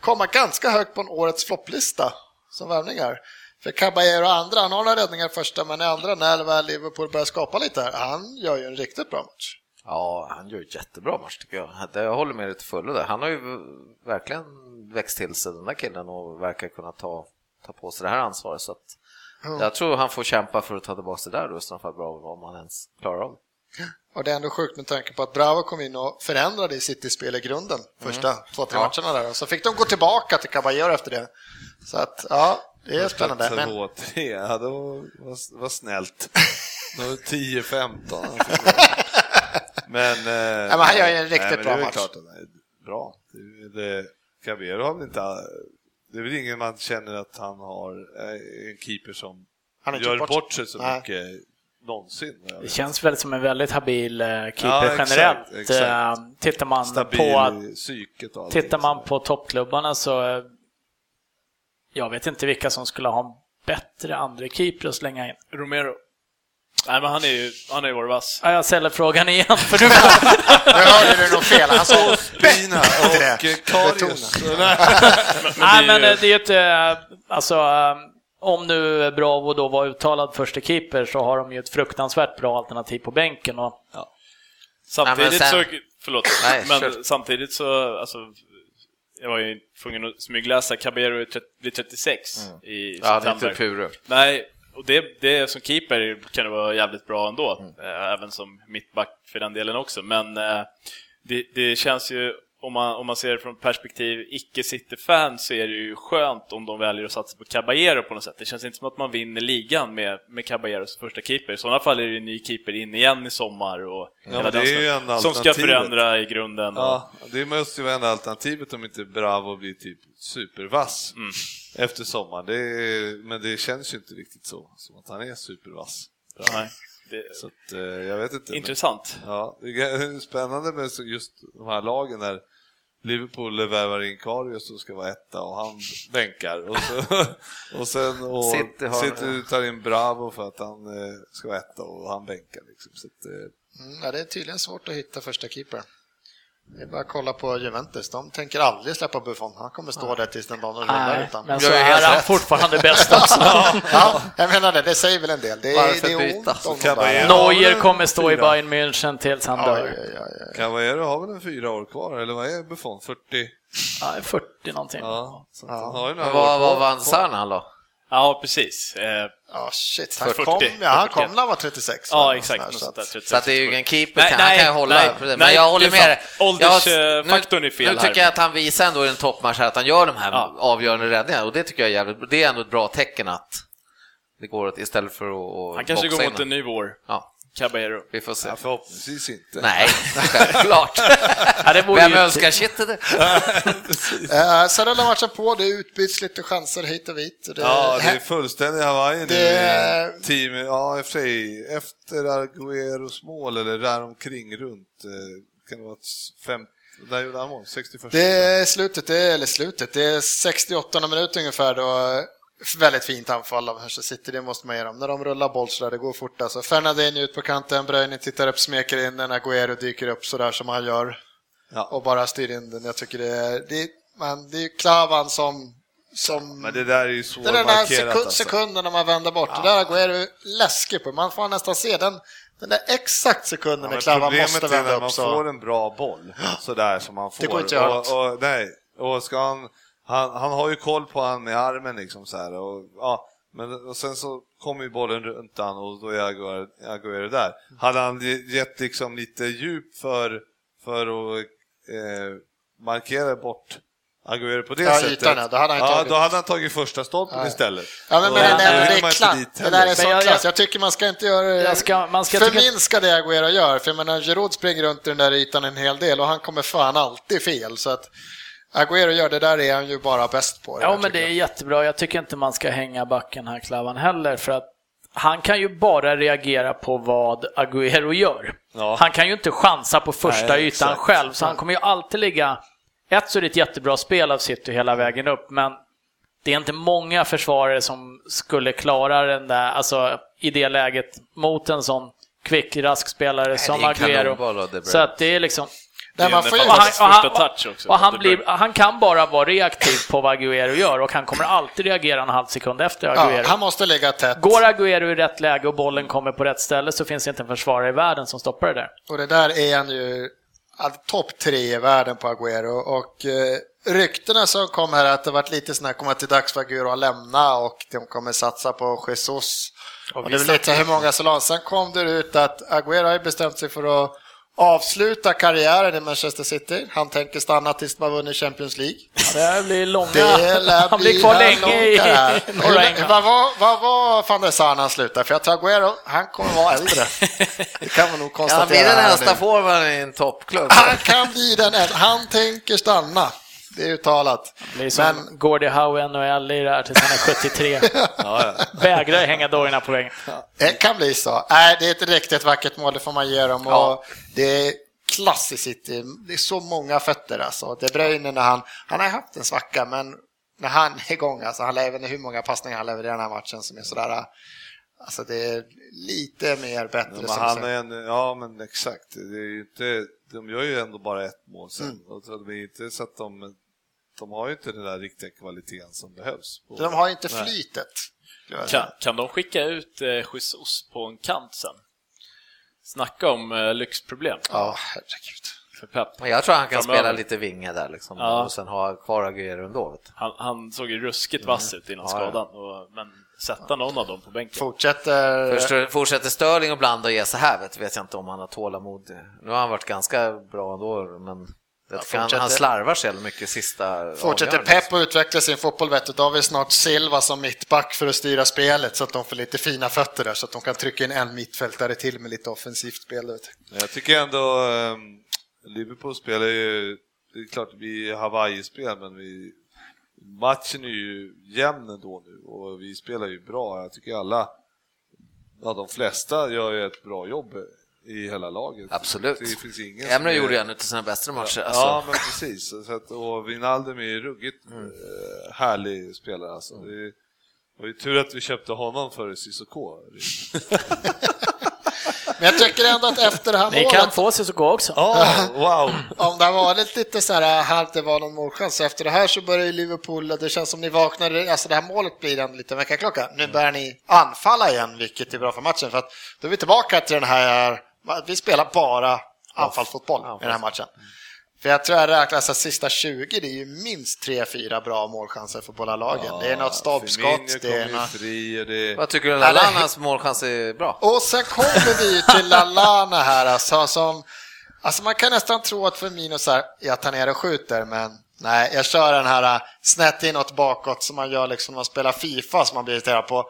komma ganska högt på en årets flopplista som värvningar? För Caballero och andra, han har några räddningar första men i andra när väl Liverpool börjar skapa lite här, han gör ju en riktigt bra match. Ja, han gör ett jättebra match tycker jag. Det- Jag håller med dig till fullo där. Han har ju verkligen växt till sig den där killen och verkar kunna ta, ta på sig det här ansvaret. Så att jag tror han får kämpa för att ta tillbaka det där då, i så fall bra om han ens klarar av det. Och det är ändå sjukt med tanke på att Bravo kom in och förändrade i City-spel i grunden första två, tre matcherna där. Och så fick de gå tillbaka till Caballero efter det. Så att, ja, det är spännande. Så Men, då tre, ja, det var, var, var snällt. Då var det 10-15. Men, eh, men han gör ju en riktigt nej, men det bra är väl match. Klart, att han är bra. Det, det, Cabero har väl inte... Det är väl ingen man känner att han har eh, en keeper som Han har inte gör gjort bort, bort sig så Nej. mycket någonsin. vad jag Det vet. känns väl som en väldigt habil eh, keeper Ja, exakt, generellt. exakt. Eh, Tittar man Stabil på att i psyket och allting. Tittar man på toppklubbarna så... eh, Jag vet inte vilka som skulle ha en bättre andra keeper att slänga in. Romero. Nej, men han, är ju, han har ju varit vass. Ja, jag ställer frågan igen, för (laughs) du nu hörde du nog fel. Han sa (laughs) Bina och eh, det. Karius. Nej, det är men ju- eh, det är ju inte... eh, Alltså, eh, om nu Bravo då var uttalad första keeper så har de ju ett fruktansvärt bra alternativ på bänken. Och Samtidigt Nej, men sen- så... Förlåt. (clears throat) Nej, men kör. samtidigt så... Alltså, jag var ju tvungen att smygläsa, Cabero är tret- blir 36 i Mm. Ja, det är typ september. inte Puru. Nej, och det, det som keeper kan det vara jävligt bra ändå, eh, även som mittback för den delen också. Men eh, det, det känns ju, om man, om man ser det från perspektiv icke-City-fan, så är det ju skönt om de väljer att satsa på Caballero på något sätt. Det känns inte som att man vinner ligan med, med Caballero som första keeper. I sådana fall är det ju en ny keeper in igen i sommar och Ja, hela men det den är ju som- ändå som ska alternativet. förändra i grunden. och- Ja, det måste ju vara enda alternativet om inte Bravo blir typ supervass Mm. efter sommaren. Det är, men det känns ju inte riktigt så, som att han är supervass. Nej, det, Så att, eh, jag vet inte. men- intressant. Ja, det är (laughs) spännande med så- just de här lagen när Liverpool värvar in Karius som ska vara etta och han bänkar. Och, så, (laughs) och sen och City har- City tar in Bravo för att han eh, ska vara etta och han bänkar. Liksom. Så att, eh, Mm, ja, det är tydligen svårt att hitta första keeper. Det är bara att kolla på Juventus, de tänker aldrig släppa Buffon. Han kommer stå där tills den dagen de rullar Nej, utan. men så så Jag är är helt är han han rätt. fortfarande bäst alltså. Ja, jag menar det, det säger väl en del. Det är, Varför det är byta? ont om Så kan de där. man ju- Neuer kommer stå i Bayern München tills han Ja, ja, dör. ja, ja. Cavallero har väl en fyra år kvar, eller vad är Buffon? 40? Ja, 40 någonting. Ja, så att Ja. han har ju några Men år kvar. vad vad vann Sarnan då? Ja, precis. Eh, Ja, shit. Han 40. kom, ja, han 41. kom när han var 36. ja, eller exakt. något Något sånt sånt där, där, typ. så att- 36, Så att det är ju en keeper, Nej, kan, han kan ju nej, hålla nej, på det. Men nej, jag det håller är med dig. sant. Ålders, Jag- eh, faktorn är fel Nu här. tycker jag att han visar ändå i en toppmatch här att han gör de här Ja. avgörande räddningarna och det tycker jag är jävligt Det är ändå ett bra tecken att det går åt istället för att att Han kanske boxa går in mot den. en ny vår, Ja, Caballero. vi får se. Ja, förhoppningsvis inte. (laughs) Nej, självklart. Ja, det vore Vem ju- önskar kittet? Eh, Sen rullar matchen på, det utbyts lite chanser hit och dit. och Det, Ja, det är fullständig Hawaii nu. eh, Det- Team, ja, i och för sig, efter Argueros mål, eller där omkring runt, eh, kan det vara ett fem, där gjorde han mål, 61. det är slutet, det är, eller slutet, det är 68 minut ungefär då. eh, Väldigt fint anfall av Manchester City, det måste man ge dem. När de rullar boll sådär, det går fort alltså. Fernandinho ut på kanten, Bruyne tittar upp, smeker in den, Agüero dyker upp sådär som han gör. Ja. Och bara styr in den. Jag tycker det är, det är, man, det är ju Klavan som, som Men det där är ju svårt Det är den här markerat sekund, alltså. sekunden när man vänder bort. Det där går ju läskigt på. Man får nästan se den, den där exakt sekunden när men Klavan problemet måste är vända när man upp. Så. får en bra boll, sådär som man får. Det går inte att göra något. och, och, nej, och ska han, han, han har ju koll på han med armen liksom så här, och, ja, men och sen så kommer ju bollen runt han och då är Agüero- Agüero där. Hade han ge- gett liksom lite djup för, för att eh, markera bort Agüero på det Ja, sättet. ytan, ja. Då hade han ju ja, tagit- då hade han tagit första stolpen istället. Ja, men, Och men då det, vill är man det, är inte klass. dit det heller. där är sån Men jag- klass. Jag tycker man ska inte göra Jag ska- man ska tycka- förminska det Aguero gör. För jag menar, Giroud springer runt i den där ytan en hel del och han kommer fan alltid fel. Så att Aguero gör det där är han ju bara bäst på. Ja, jag men det tycker. är jättebra. Jag tycker inte man ska hänga backen här, Klavan, heller. För att han kan ju bara reagera på vad Agüero gör. Ja. Han kan ju inte chansa på första Nej, ytan exakt. själv, så han kommer ju alltid ligga... Ett så är det ett jättebra spel av City hela vägen upp, men det är inte många försvarare som skulle klara den där, alltså i det läget, mot en sån kvick, rask spelare som det är en kanonboll av De Agüero. Bruyne. Så att det är liksom... Nej, man Det är får ju... en Och han, Hans och han, första touch också, och det han, blir, börjar. han kan bara vara reaktiv på vad Agüero gör och han kommer alltid reagera en halv sekund efter Ja, Agüero. han måste ligga tätt. Går Agüero i rätt läge och bollen kommer på rätt ställe så finns det inte en försvarare i världen som stoppar det där. Och det där är han ju all- topp tre i världen på Agüero och eh, ryktena som kom här att det varit lite sådana här kommer till dags för Agüero att lämna och de kommer satsa på Jesus. Och det är väl lite hur många som la. Sen kom det ut att Agüero har ju bestämt sig för att avsluta karriären i Manchester City. Han tänker stanna tills man vunnit Champions League. Det här blir långa... Det lär (laughs) han bli blir kvar en länge lång i (laughs) karriär. norra England. Vad var, vad var van der Sar när han slutade? För jag tror Agüero, han kommer vara (laughs) äldre. Det kan man nog konstatera. Han blir den här äldsta nu. forwarden i (laughs) en toppklubb. Han kan bli den enda. Han tänker stanna. Det är uttalat. Det är som Men Gordie Howe i NHL i det här tills han är (laughs) 73. Vägrar hänga dojorna på väggen. det eh, kan bli så. Nej, det är ett riktigt vackert mål, det får man ge dem. Och det är klass i City. Det är så många fötter alltså. De Bruyne när han, han har haft en svacka, men när han är igång, alltså, han lever hur många passningar han levererar i den här matchen som är sådär, eh, alltså det är lite mer bättre. Men som han sagt. är en, ja men exakt, det är ju inte, de gör ju ändå bara ett mål sen. Mm. Och så det är inte så att de, de har ju inte den där riktiga kvaliteten som behövs. De har ju inte Nej. flytet. Kan, kan de skicka ut eh, Jesus på en kant sen? Snacka om eh, lyxproblem. Ja, herregud. för Pep. Men jag tror han kan Framöver. spela lite vinge där liksom, Ja. och sen ha kvar Agüero ändå. Vet. du. Han, han såg ju ruskigt vass ut innan Ja, ja. skadan, och, men sätta någon av dem på bänken. Fortsätter... Förstår- Fortsätter Sterling och blanda och ge sig här vet, vet jag inte om han har tålamod. Nu har han varit ganska bra ändå, men jag tycker han, fortsätter- han slarvar så jävla mycket sista Fortsätter avgörande. Pep att utveckla sin fotboll vet du, då har vi snart Silva som mittback för att styra spelet så att de får lite fina fötter där så att de kan trycka in en mittfältare till med lite offensivt spel. Vet du. Men Jag tycker ändå ehm, Liverpool spelar ju, det är klart vi är Hawaii-spel men vi, matchen är ju jämn ändå nu och vi spelar ju bra. Jag tycker alla, ja de flesta gör ju ett bra jobb i hela laget. Absolut. Det finns ingen som Emre är- gjorde ju en av sina bästa matcher. Alltså, Ja, men precis. Så att, och Wijnaldum är ju ruggigt eh, härlig spelare alltså. Det var ju tur att vi köpte honom före Cissoko. Men jag tycker ändå att efter det här Ni kan målet, få sig så gå också. Ja, wow! om det har varit lite så här halvt det var någon målchans, så efter det här så börjar ju Liverpool, det känns som ni vaknar, alltså det här målet blir en liten väckarklocka. Nu Mm. börjar ni anfalla igen, vilket är bra för matchen för att då är vi tillbaka till den här, äh, vi spelar bara anfallsfotboll i den här matchen. För jag tror jag räknar så här, sista 20, det är ju minst 3-4 bra målchanser för båda lagen. det är något Firmino stoppskott, det är kom ju något... fri och det... Vad tycker du? Ja, det- Lalanas målchans är bra? Och sen kommer vi ju till Lallana här alltså, som, alltså man kan nästan tro att Firmino så här, jag tar ner och skjuter men nej, jag kör den här äh, snett inåt bakåt som man gör liksom när man spelar Fifa som man blir irriterad på.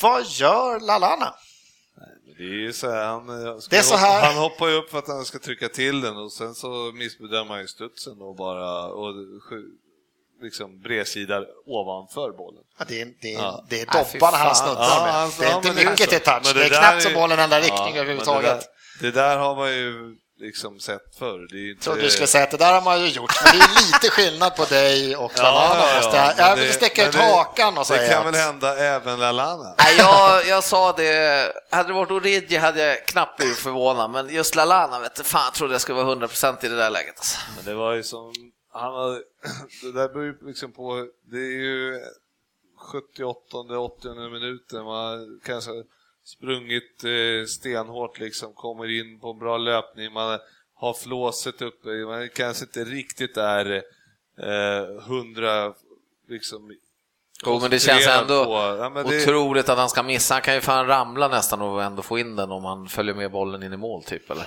Vad gör Lallana? Det är ju så här, han, eh, ska Det är så hoppa- här. han hoppar ju upp för att han ska trycka till den och sen så missbedömer han ju studsen och bara och skj- liksom bredsidar ovanför bollen. Ja, Det är, det är, Ja. det är Ah, fy dobbarna fan. han snuddar Ja, med. alltså, det är ja, inte men är mycket så. till touch, Men det är där knappt som bollen ändrar Ja, riktning men överhuvudtaget. Det där, det där har man ju liksom sett förr. Det är ju Jag inte... trodde du skulle säga att det där har man ju gjort, men det är lite skillnad på dig och Lallana. måste jag- men jag det- vill sticka men ut det- hakan och Det säga kan väl hända även Lalana? Nej, jag, jag sa det, hade det varit Origi hade jag knappt blivit förvånad, men just Lalana vet du, fan jag trodde jag skulle vara 100% i det där läget. Alltså. Men det var ju som, han hade, (clears throat) det där beror ju liksom på, det är ju 78 80 minuten, man kanske har sprungit eh, stenhårt liksom, kommer in på en bra löpning, man har flåset uppe, man kanske inte riktigt är eh, hundra liksom Jo, men det känns ändå på- ja, men det- otroligt att han ska missa. Han kan ju fan ramla nästan och ändå få in den om han följer med bollen in i mål typ. Eller?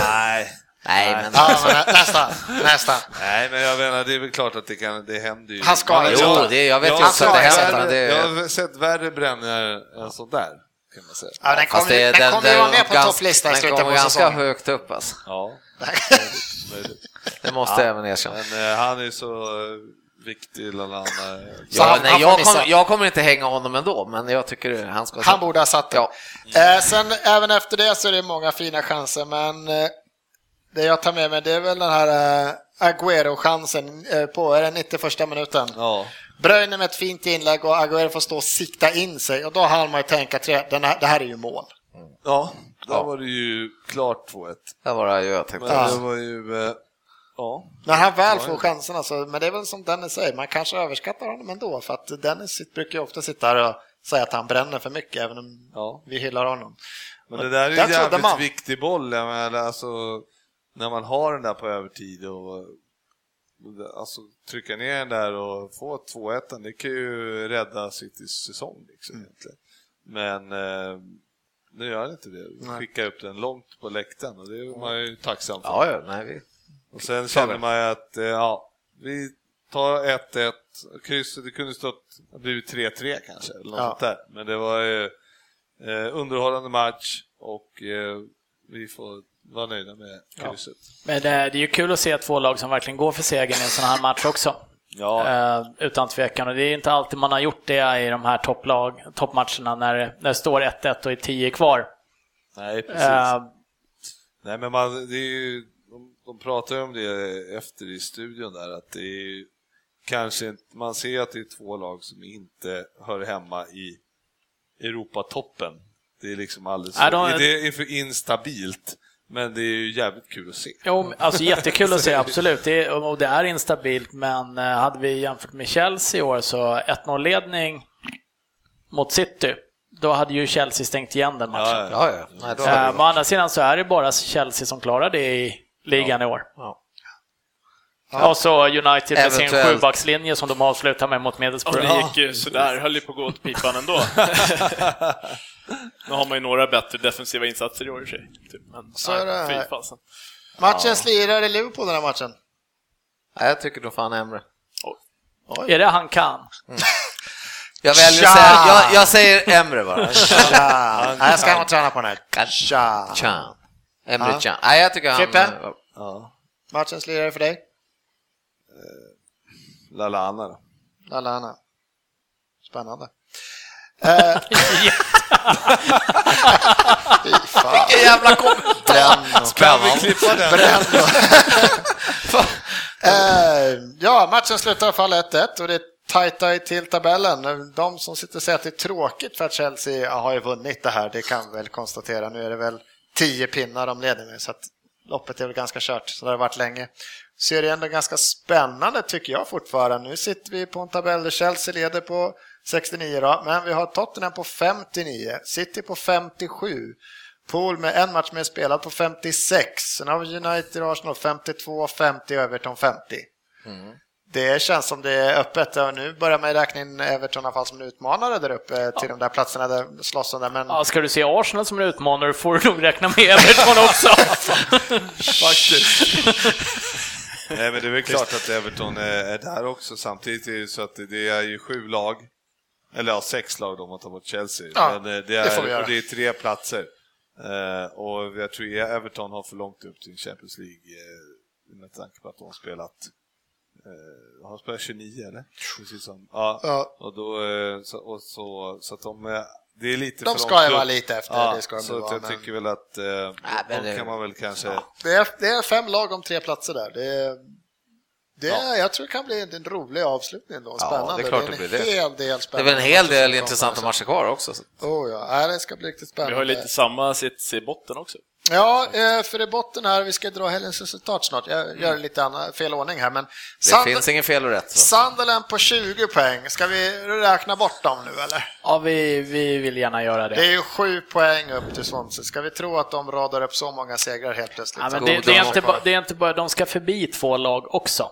Nej. Nej, men... Ja, men nä- nästan, nästan. Nej, men jag menar, det är väl klart att det, kan, det händer ju. Han ska Ja, inte (laughs) Jo, göra. det, jag vet Jag ju har också att det sett händer. värre- men Det, Jag har sett värre bränningar än sån där, kan man säga. Ja, den fast kommer ju det- den kommer ju vara med på ganska- topplistan i Den slutet kommer på (laughs) ganska säsongen. högt upp alltså. Ja. Det måste jag även erkänna. Men eh, han är så eh, viktig, eh, Lalana. Så Ja, han- nej, han får jag, missa. kommer, jag kommer inte hänga honom ändå, men jag tycker det- han ska... Han borde ha satt den. Ja. Eh, sen även efter det så är det många fina chanser, men eh, det jag tar med mig det är väl den här eh, Agüero-chansen eh, på, är den 91 minuten? Ja. Bröjne med ett fint inlägg och Agüero får stå och sikta in sig och då hann man ju tänka att det här, det här är ju mål. ja, där Ja. var det ju klart 2-1. Det var det jag Men tänkte. Ja. det var ju... eh, Ja. När han väl får chanserna så, men det är väl som Dennis säger, man kanske överskattar honom ändå för att Dennis sitt- brukar ju ofta sitta här och säga att han bränner för mycket även om Ja. vi hyllar honom. Men det där är Den en trodde jävligt man. viktig boll, jag menar, alltså, när man har den där på övertid och alltså, trycka ner den där och få 2-1, det kan ju rädda Citys säsong. Liksom, egentligen. Men eh, nu gör det inte det. Skickar upp den långt på läktaren och det är man ju tacksam för. Ja, ja, nej, vi... Och sen känner man ju att, eh, ja, vi tar 1-1, krysset, det kunde stått, det blivit 3-3 kanske, eller något Ja. sånt där. Men det var ju eh, underhållande match och eh, vi får vara nöjda med krysset. Men det är, det är ju kul att se två lag som verkligen går för segern i en sån här match också. Ja. Eh, utan tvekan. Och det är inte alltid man har gjort det i de här topplag, toppmatcherna när, det- när det står 1-1 och är 10 kvar. Nej, precis. Eh, Nej, men man, det är ju, de, de pratar ju om det efter i studion där, att det är ju kanske inte, man ser att det är två lag som inte hör hemma i Europatoppen. Det är liksom alldeles, Nej, de- det är för instabilt, men det är ju jävligt kul att se. Jo, men alltså jättekul att se, absolut. Det är, och det är instabilt, men eh, hade vi jämfört med Chelsea i år så 1-0-ledning mot City, då hade ju Chelsea stängt igen den matchen. Ja, ja. Ja, ja. Nej, då Eh, hade men å andra sidan så är det bara Chelsea som klarar det i, ligan i år. Och så United med sin Eventuellt. sjubackslinje som de avslutar med mot Och Middlesbrough. det gick ju sådär, höll ju på att gå åt pipan ändå. nu har man ju några bättre defensiva insatser i år i och för sig. Typ. Men, Så nej, är det. fy fasen. Matchens lirare i Liverpool den här matchen. Nej, jag tycker nog fan Emre. Är det han kan? Jag väljer Tja! att säga, jag, jag säger Emre bara. Tja! Nej, jag ska hem och träna på den här. Tja! Chan. Emre Ja. Can. Nej, jag tycker han... Frippe? Ja. Matchens lirare för dig? Lalana då. Lallana. Spännande. Eh, Fy fan. Vilken jävla kommentar! Bränn och- klippa den? Bränn och- Eh, Ja, matchen slutar i alla fall 1-1 och det är tajta till tabellen. De som sitter och säger att det är tråkigt för att Chelsea har ju vunnit det här, det kan vi väl konstatera. Nu är det väl 10 pinnar de leder med, så att loppet är väl ganska kört. Så det har det varit länge. Så är det ändå ganska spännande tycker jag fortfarande. Nu sitter vi på en tabell där Chelsea leder på 69 då, men vi har Tottenham på 59, City på 57, Pool med en match mer spelad på 56. Sen har vi United och Arsenal 52, 50 och Everton 50. Mm. Det känns som det är öppet och nu börjar man ju räkna in Everton i alla fall som en utmanare där uppe eh, till de där platserna där slåss om där. Men Ja, ska du se Arsenal som en utmanare får du nog räkna med (laughs) Everton också. Faktiskt. Nej, men det är väl klart att Everton är, är där också. Samtidigt är det ju så att det- det är ju sju lag, eller ja, sex lag om man tar bort Chelsea. Ja, men eh, det, det är, får vi göra. och det är tre platser. Eh, och jag tror att Everton har för långt upp till Champions League eh, med tanke på att de har spelat eh, har spelat 29 eller? Precis som. Ja, Ja. Och då, eh, så, och så, så att de, eh, det är lite De för ska långt ju vara upp. lite efter, Ja, det ska de så ju att vara, jag men- tycker väl att eh, men de det- kan man väl kanske det är, det är fem lag om tre platser där. Det är, det är, Jag tror det kan bli en rolig avslutning då. Spännande. det är klart det en blir det. hel del Det är spännande väl en hel matcher som del kommer, intressanta så- matcher kvar också. så- Oh, ja. Nej, det ska bli riktigt spännande. Vi har ju lite samma sits i botten också. Ja, eh, för i botten här, vi ska dra helgens resultat snart. Jag gör lite annan, fel ordning här, men Mm. Det Sand- finns ingen fel och rätt. Så. Sunderland på 20 poäng. Ska vi räkna bort dem nu eller? Ja, vi, vi vill gärna göra Det det. är ju 7 poäng upp till Swansea. Ska vi tro att de radar upp så många segrar helt plötsligt? Ja, men Så- det, det, är kvar. inte Mm. bara, det är inte bara, de ska förbi två lag också.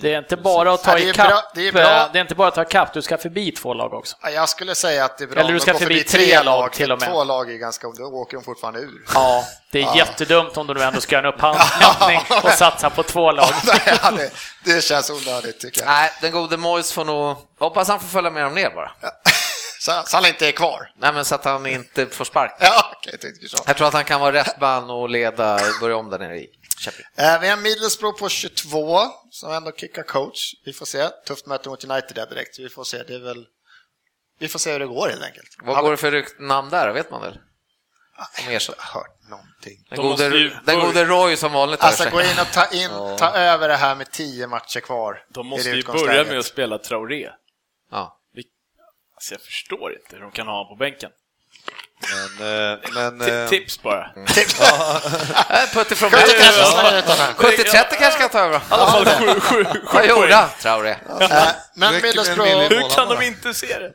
Det är inte bara att ta Ja, det är ikapp, bra- det är bra. eh, det är inte bara att ta ikapp, du ska förbi två lag också. Ja, Jag skulle säga att det är bra Eller om du de ska går förbi tre lag till och med. Två lag är ganska... Då åker de fortfarande ur. Ja, det är jättedumt om du nu ändå ska göra en upphandling och satsa på (laughs) två lag. (laughs) Ja, det, det känns onödigt tycker jag. Nej, den gode Moyes får nog... Hoppas han får följa med dem ner bara. Så, så han inte är kvar. Nej, men så att han inte får sparken. Ja, okej, jag tänkte så. Jag tror att han kan vara (laughs) rätt man och leda, börja om där nere i Champions. Eh, Vi har Middlesbrough på 22 som ändå kickar coach. Vi får se. Tufft möte mot United där direkt. Vi får se. Det är väl... Vi får se hur det går helt enkelt. Vad går det för rykt- namn där, vet man väl? Om ersätt. Jag har hört någonting. Den De måste gode, ju den börja- gode Roy som vanligt. har Alltså jag gå sagt. in och ta, in, ta över det här med 10 matcher kvar. De i måste det ju börja utgångsläget. med att spela Traoré. Ja. Alltså jag förstår inte hur de kan ha honom på bänken. Men, eh, men Ti- eh, Tips bara. Mm. (laughs) Nej, Putte från Putte kanske slänger ut honom. 70-30 kanske kan ta över. I alla fall (laughs) sju, sju, sju Vad gjorde poäng. han? Traoré. Eh, Men Räcker med en Middlesbrough, miljon. Hur kan de inte se det?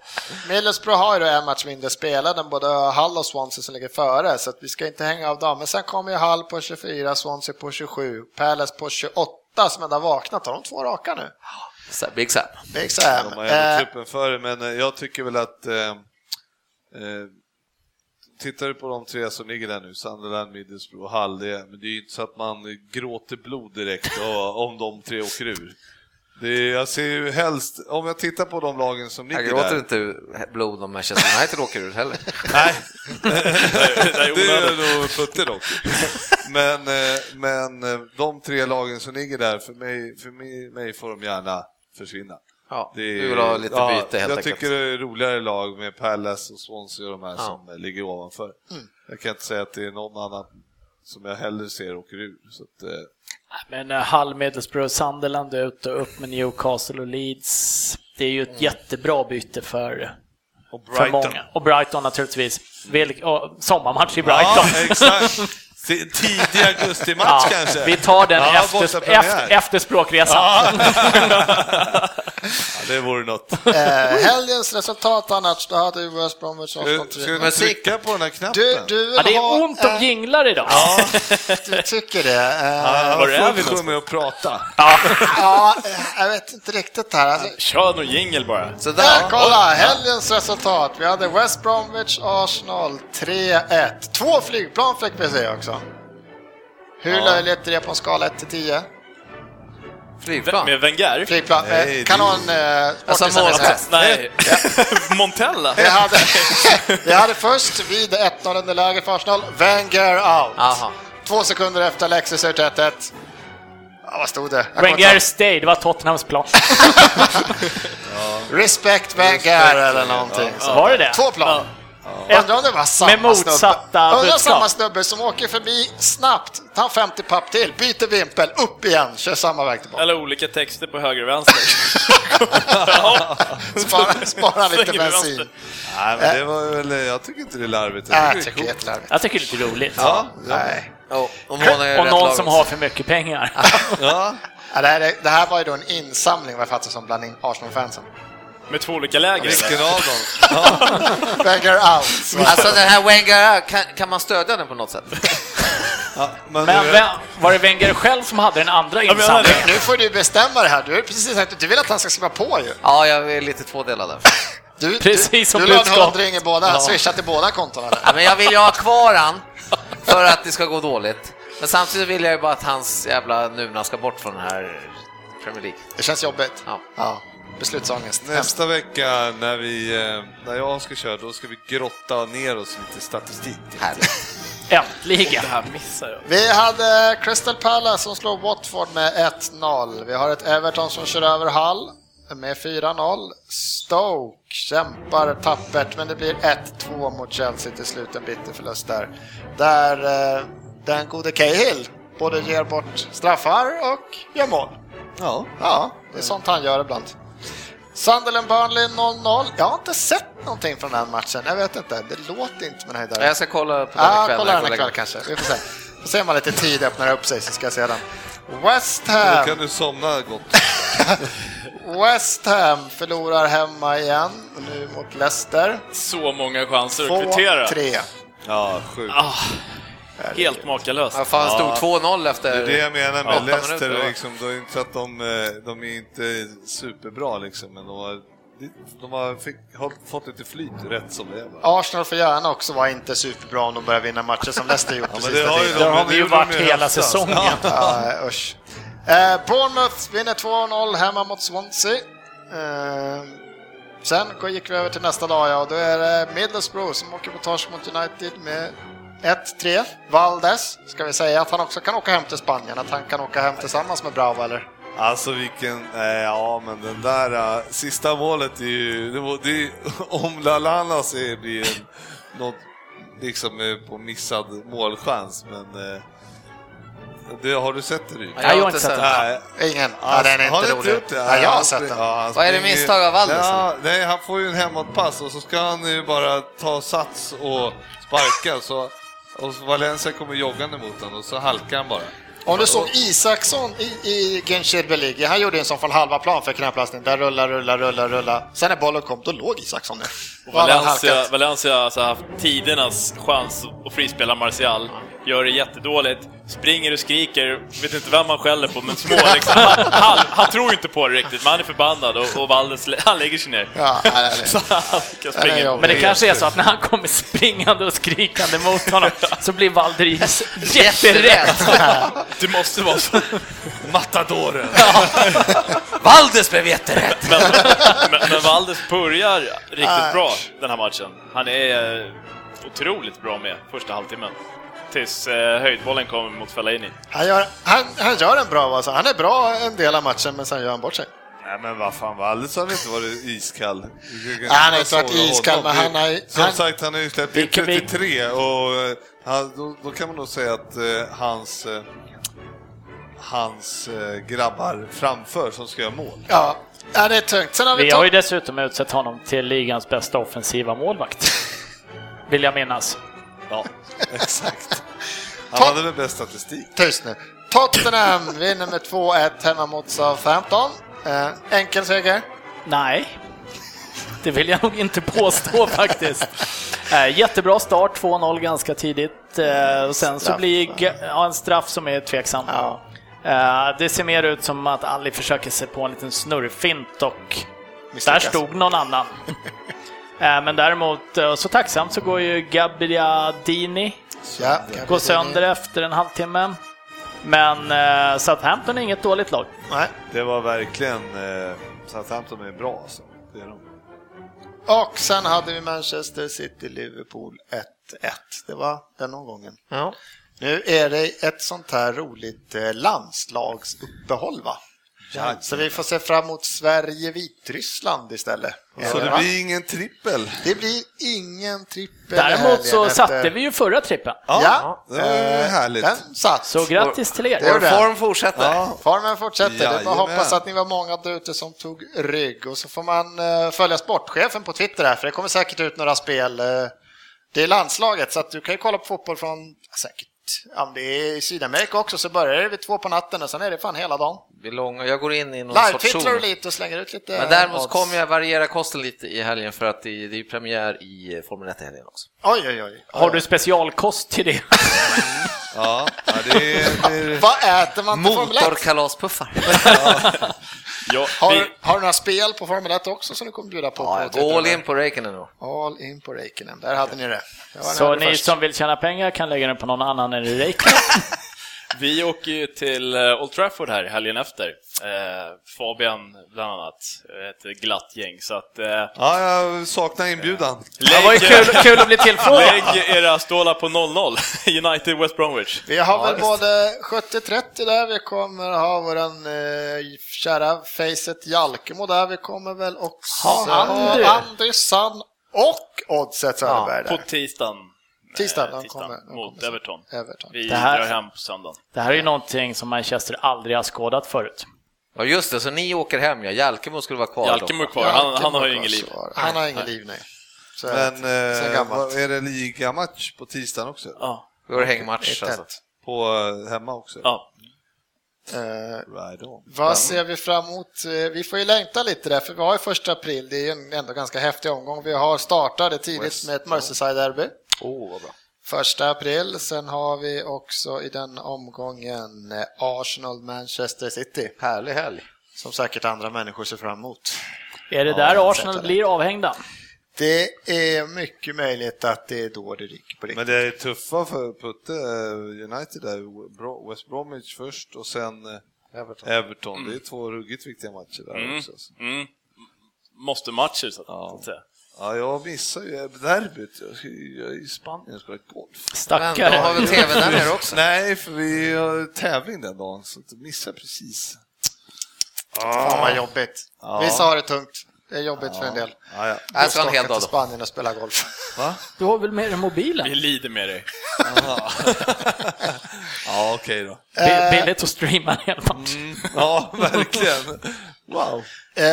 Middlesbrough har ju då en match mindre spelad än både Hull och Swansea som ligger före, så att vi ska inte hänga av dem. Men sen kommer ju Hull på 24, Swansea på 27, Palace på 28 som ändå har vaknat. Har de två raka nu? Så här, Big Sam. Big Sam. de har Eh, ändå truppen för det, men eh, jag tycker väl att eh, eh, Tittar du på de tre som ligger där nu, Sunderland, Middlesbrough och Hall, det, men det är ju inte så att man gråter blod direkt och, (laughs) om de tre åker ur. Det är, jag ser ju helst, om jag tittar på de lagen som ligger Jag gråter där. inte ur blod om Manchester United åker ur heller. (laughs) Nej, Det där (laughs) är det onödigt. är nog Putte dock. Men, eh, men eh, de tre lagen som ligger där, för mig, för mig, mig får de gärna försvinna. (laughs) Ja, Det du vill ha lite ja, byte helt Jag enkelt. tycker det är roligare lag med Palace och Swansea och de här som eh, ligger ovanför. Mm. Jag kan inte säga att det är någon annan som jag hellre ser åker ur. Så att, eh, Men eh, Hull, Middlesbrough, Sunderland är ute och upp med Newcastle och Leeds. Det är ju ett jättebra byte för, eh, och för många. Och Brighton naturligtvis. Vilk, och, sommarmatch i Brighton. Ja, (laughs) exakt. Ti- Tidig augustimatch Ja, kanske. vi tar den Ja, efter, bortapremiär. efter, efter språkresan. Ja, det vore något. Eh, helgens resultat annars, då hade ju West Bromwich Arsenal Ska (laughs) ska 3. du trycka på den här knappen? Du, du Ja, vill det ha... är ont om jinglar idag. Du tycker det? Eh, Ja, Var är vi folk kommer att prata. ja, eh, jag vet inte riktigt här. Alltså, Kör någon jingel bara. Så där, där. kolla! Helgens resultat. Vi hade West Bromwich Arsenal 3-1. Två flygplan fick vi se också. Hur löjligt är det på en skala 1 till 10? Flygplan. Med Wenger? Flygplan, Nej, eh, kanon, eh, Alltså, sportisen vill säga. målgest. Nej. (laughs) Montella? Vi hade, vi hade först vid 1-0 underläge för Arsenal, Wenger out. Aha. Två sekunder efter Alexis ut 1-1. Ja, vad stod det? Jag kommer Wenger inte Stay, det var Tottenhams plan. ihåg. Respect Wenger eller någonting. Så var det det? Två plan. Undrar om det var samma Med motsatta snubbe. Undrar budskap. samma snubbe som åker förbi snabbt, tar 50 papp till, byter vimpel, upp igen, kör samma väg tillbaka. Eller olika texter på höger och vänster. (laughs) Spara, spara lite Svänger bensin. vänster. Nej, men det var väl, jag tycker inte det är larvigt. Nej, det jag är tycker det är jättelarvigt. Jag tycker det är lite roligt. Ja, ja. Nej. Ja, och Mona är Och rätt någon lag som också. har för mycket pengar. ja. Ja, det, här, är- det här var ju då en insamling vad jag fattar som bland Arsenal-fansen. (laughs) Med två olika läger? Vilken eller? av dem? Ja. Wenger out. Alltså den här Wenger, kan, kan man stödja den på något sätt? Ja, men Men du- vem, var det Wenger själv som hade den andra men jag hade- insamlingen? Nu får du bestämma det här. Du har ju precis sagt att du vill att han ska skriva på ju. Ja, jag är lite tvådelad där. Du, du, Precis som du la en budskap. hundring i båda, swisha till båda kontona. där. Ja, men jag vill ju ha kvar han för att det ska gå dåligt. Men samtidigt vill jag ju bara att hans jävla nuna ska bort från den här Premier League. Det känns jobbigt. Ja. Ja. Beslutsångest. Hemskt. Nästa vecka när, vi, eh, när jag ska köra, då ska vi grotta ner oss lite statistik. Härligt. Äntligen! Det här missar jag. Vi hade Crystal Palace som slog Watford med 1-0. Vi har ett Everton som kör över Hull med 4-0. Stoke kämpar tappert, men det blir 1-2 mot Chelsea till slut. En bitter förlust där. Där eh, den gode Cahill både ger bort straffar och gör mål. Ja. Ja, det är sånt han gör ibland. Sunderland Burnley 0-0. Jag har inte sett någonting från den här matchen. Jag vet inte, det låter inte med den här där. Jag ska kolla på den Ja, ikväll. kolla när jag den går och ikväll lägger kanske. Vi får se. Får se om man lite tid öppnar upp sig så ska jag se den. West Då Ham, kan du somna gott. West Ham förlorar hemma igen, och nu mot Leicester. Så många chanser att kvittera. 2-3. Ja, sjukt. Helt makalöst. mig. Ja, fan, stod 2-0 efter... Det är det jag menar med åtta Leicester, minuter, va? liksom, det är inte så att de, eh, de är inte superbra liksom, men de har, de har fick, har fått lite flyt rätt som det är. va? Arsenal får gärna också vara inte superbra om de börjar vinna matcher som Leicester gjort Ja, precis men det har ju tiden. de, Där har men vi det ju gjorde de varit hela höstas. säsongen. Ja. Ja, usch. Eh, Bournemouth vinner 2-0 hemma mot Swansea. Eh, sen gick vi över till nästa dag ja, och då är det Middlesbrough som åker på torsk mot United med 1-3. Valdes, ska vi säga att han också kan åka hem till Spanien, att han kan åka hem tillsammans med Bravo eller? Alltså vilken, eh, ja men den där eh, sista målet är ju, det, var- det är, (laughs) om Lalana ser blir en, något liksom eh, på missad målchans, men eh, det, har du sett det Ryd? Ja, jag har inte sett det. Nej, Ingen. Alltså, ja, den är har inte du rolig. gjort det? Ja, jag har han sett spring- den. ja, han Vad är det springer- misstag av Valdes, Ja, nej, han får ju en hemåtpass och så ska han ju bara ta sats och sparka. Så, och så Valencia kommer joggande mot honom och så halkar han bara. Om du såg Isaksson i, i Genshirbe League, han gjorde en sån från halva plan för knäpplastning. Där rullar, rullar, rullar, rullar. Sen när bollen kom, då låg Isaksson där. Då hade han halkat. Valencia, Valencia har alltså haft tidernas chans att frispela Martial. Gör det jättedåligt. Springer och skriker. Vet inte vem han skäller på, men små liksom. han, han, han tror inte på det riktigt, men han är förbannad och, och Valdes, lä- han lägger sig ner. (laughs) Ja, nej, nej, nej. Så han kan Nej, nej, springa. jag- Men det kanske är så att när han kommer springande och skrikande mot (laughs) honom så blir Valdris (laughs) jätterädd. Det måste vara så. Matadoren! Valdes blev jätterätt! Men, men, men Valdes börjar riktigt bra den här matchen. Han är eh, otroligt bra med första halvtimmen. Tills eh, höjdbollen kommer mot Fellaini. Han gör, han, han gör en bra alltså. Han är bra en del av matchen, men sen gör han bort sig. Nej men vad fan, Valdes har väl inte varit iskall? han har inte varit iskall, men han har ju- Som han- sagt, han har ju släppt in kan vi- 33 och eh, han, då, då kan man nog säga att eh, hans, eh, hans eh, grabbar framför som ska göra mål. Ja, ja det är tungt. Sen har vi, Vi har ju (laughs) Tot- dessutom utsett honom till ligans bästa offensiva målvakt. Vill jag minnas. Ja, exakt. Han hade väl bäst statistik. Tyst nu. Tottenham vinner med 2-1 hemma mot Southampton. Eh, enkel seger. Nej, det vill jag nog inte påstå (laughs) faktiskt. Eh, Jättebra start, 2-0 ganska tidigt. Eh, Och sen så Straff, blir va? G- ja, en straff som är tveksam. Eh, Det ser mer ut som att Ali försöker sig på en liten snurrfint och där Misslyckas. stod någon annan. (laughs) Eh, Men däremot, eh, så tacksamt så går ju Gabbiadini Ja, går sönder efter en halvtimme. Men eh, Southampton är inget dåligt lag. Nej. Det var verkligen... Eh, Southampton är bra alltså. Det är de. Och sen hade vi Manchester City-Liverpool 1-1. Det var den omgången. Ja. Nu är det ett sånt här roligt eh, landslagsuppehåll va? Så vi får se fram emot Sverige-Vitryssland istället. Så det va? blir ingen trippel. det blir ingen trippel Däremot så helgen satte efter- vi ju förra trippen. Ja, det var eh, härligt. Den satt. Så grattis till er! Det är Vår det. form fortsätter. Ja. Formen fortsätter. Det är bara att Jajamän. hoppas att ni var många där ute som tog rygg. Och så får man eh, följa sportchefen på Twitter här, för det kommer säkert ut några spel. eh, Det är landslaget, så att du kan ju kolla på fotboll från säkert Ja, men det är i Sydamerika också, så börjar det vid två på natten och sen är det fan hela dagen. Vi är långa. Jag går in i någon sorts Live-twittrar zon. du lite och slänger ut lite Men däremot odds. kommer jag variera kosten lite i helgen för att det är, det är ju premiär i Formel 1 i helgen också. Oj, oj, oj. Har du specialkost till det? Ja, ja det är... Det är Vad äter man till Formel 1? Motorkalaspuffar. Ja, vi, Har, har du några spel på Formel 1 också som du kommer bjuda på? Ja, på jag Twitter? går all in på Räikkönen då. All in på Reikinen, där hade ni det. Jag var Så nöjd ni först. som vill tjäna pengar kan lägga den på någon annan (laughs) än Reykjavik. vi åker ju till eh, Old Trafford här helgen efter. Eh, Fabian bland annat, ett glatt gäng. Så att, eh, ja, jag saknar inbjudan. Det var ju kul, kul att bli tillfrågad! (laughs) lägg era stålar på 0-0, (laughs) United West Bromwich. Vi har väl både 70-30 där, vi kommer ha våran eh, kära facet Jalkemo där, vi kommer väl också Ha, Andy. ha Andy Sann och Oddset Söderberg På där. tisdagen. Tisdagen, eh, de kommer- de mot kommer. Everton. Everton. Vi Det här- drar hem på söndagen. Det här är ju någonting som Manchester aldrig har skådat förut. Ja just det, så ni åker hem ja. Jalkemo skulle vara kvar Jalkemo är då. kvar, han, han har ju Jalkemo inget liv. kvar. Han har inget liv, nej. Så, Men sen eh, gammalt. vad- är det ligamatch på tisdagen också? Ja. Då är det hängmatch alltså. Tätt. På eh, hemma också? Ja. Eh, Right on. Vad ser vi fram emot? Eh, Vi får ju längta lite där, för vi har ju första april. Det är ju en ändå ganska häftig omgång. Vi har startade tidigt med ett Merseyside-derby. Åh, vad bra. Första april. Sen har vi också i den omgången eh, Arsenal-Manchester City. Härlig helg. Som säkert andra människor ser fram emot. Är det Ja, där jag Arsenal sätter det. blir avhängda? Det är mycket möjligt att det är då det ryker på Men riktigt. det är tuffa för Putte, eh, United där, Bro- West Bromwich först och sen eh, Everton. Everton. Det är två ruggigt viktiga matcher där Mm. också. alltså. Mm. Måste matcher så att, så att säga. Ja, jag missar ju eh, derbyt. Jag ska ju- jag är i Spanien och spelar golf. Men då har Stackare. (laughs) vi tv där nere (laughs) också. Nej, för vi har tävling den dagen, så att jag missar precis. Fan vad jobbigt. Ja. Vissa har det tungt. Det är jobbigt för en del. Ja, ja. Jag ska ha en hel Stocka dag till då. Spanien och spela golf. Du har väl med dig Vi mobilen? lider med dig. ja okej då. Eh. Bi- Billigt att streama en hel match. (laughs) Mm, Ja, verkligen. Wow. Eh,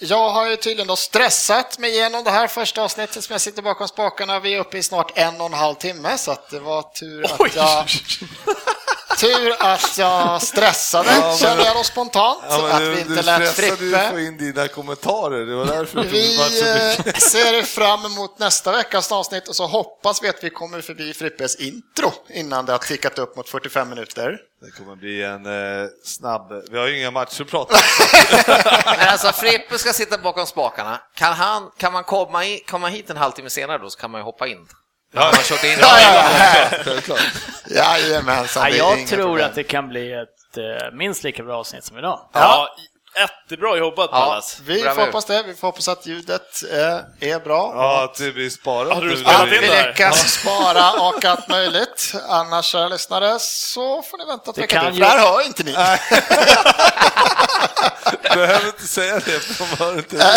Jag har ju tydligen då stressat mig igenom det här första avsnittet som jag sitter bakom spakarna. Vi är uppe i snart en och en halv timme så att det var tur Oj! att jag, (laughs) tur att jag stressade, men- kände jag då spontant. Ja, men att du, vi du inte lät stressade ju att få Frippe. in dina kommentarer, det var därför det Vi tog match så mycket. (laughs) eh, ser fram emot nästa veckas avsnitt och så hoppas vi att vi kommer förbi Frippes intro innan det har tickat upp mot 45 minuter. Det kommer bli en eh, snabb... Vi har ju inga matcher att prata om. Men alltså Frippe ska sitta bakom spakarna. Kan, han, kan man komma, i, komma hit en halvtimme senare då så kan man ju hoppa in. Ja. Man har kört in Ja, ja, ja, ja. Självklart. (laughs) Jajamensan, Ja, det är jag inga tror problem. att det kan bli ett eh, minst lika bra avsnitt som idag. Ja, jättebra jobbat Ja. Pallas. Vi Bra får move. hoppas det. Vi får hoppas att ljudet eh, är bra. Ja, att det blir sparat Hade du nu sparat när Att vi- in vi det här. lyckas spara och allt möjligt. Annars, kära lyssnare, så får ni vänta ett Det vecka kan till. För ju- det här hör inte ni. behöver inte säga det, för de hör Äh, inte.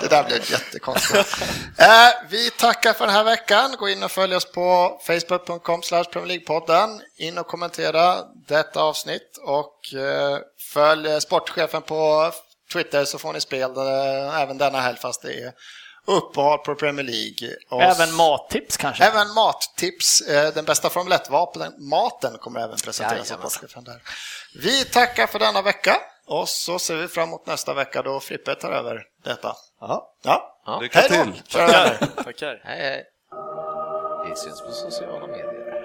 Det där blev jättekonstigt. Eh, Vi tackar för den här veckan. Gå in och följ oss på facebook.com Premier League-podden. In och kommentera detta avsnitt och eh, följ eh, sportchefen på Twitter så får ni spel eh, även denna helg fast det är uppehåll på Premier League. Och Även mattips kanske? Även mattips, eh, den bästa Formel 1-maten kommer även presenteras av Jajamensan. sportchefen där. Vi tackar för denna vecka. Och så ser vi fram emot nästa vecka då Frippe tar över detta. Ja, Ja, Ja. lycka hej då! till! Kära vänner. Tackar. Hej, hej. Vi syns på sociala medier.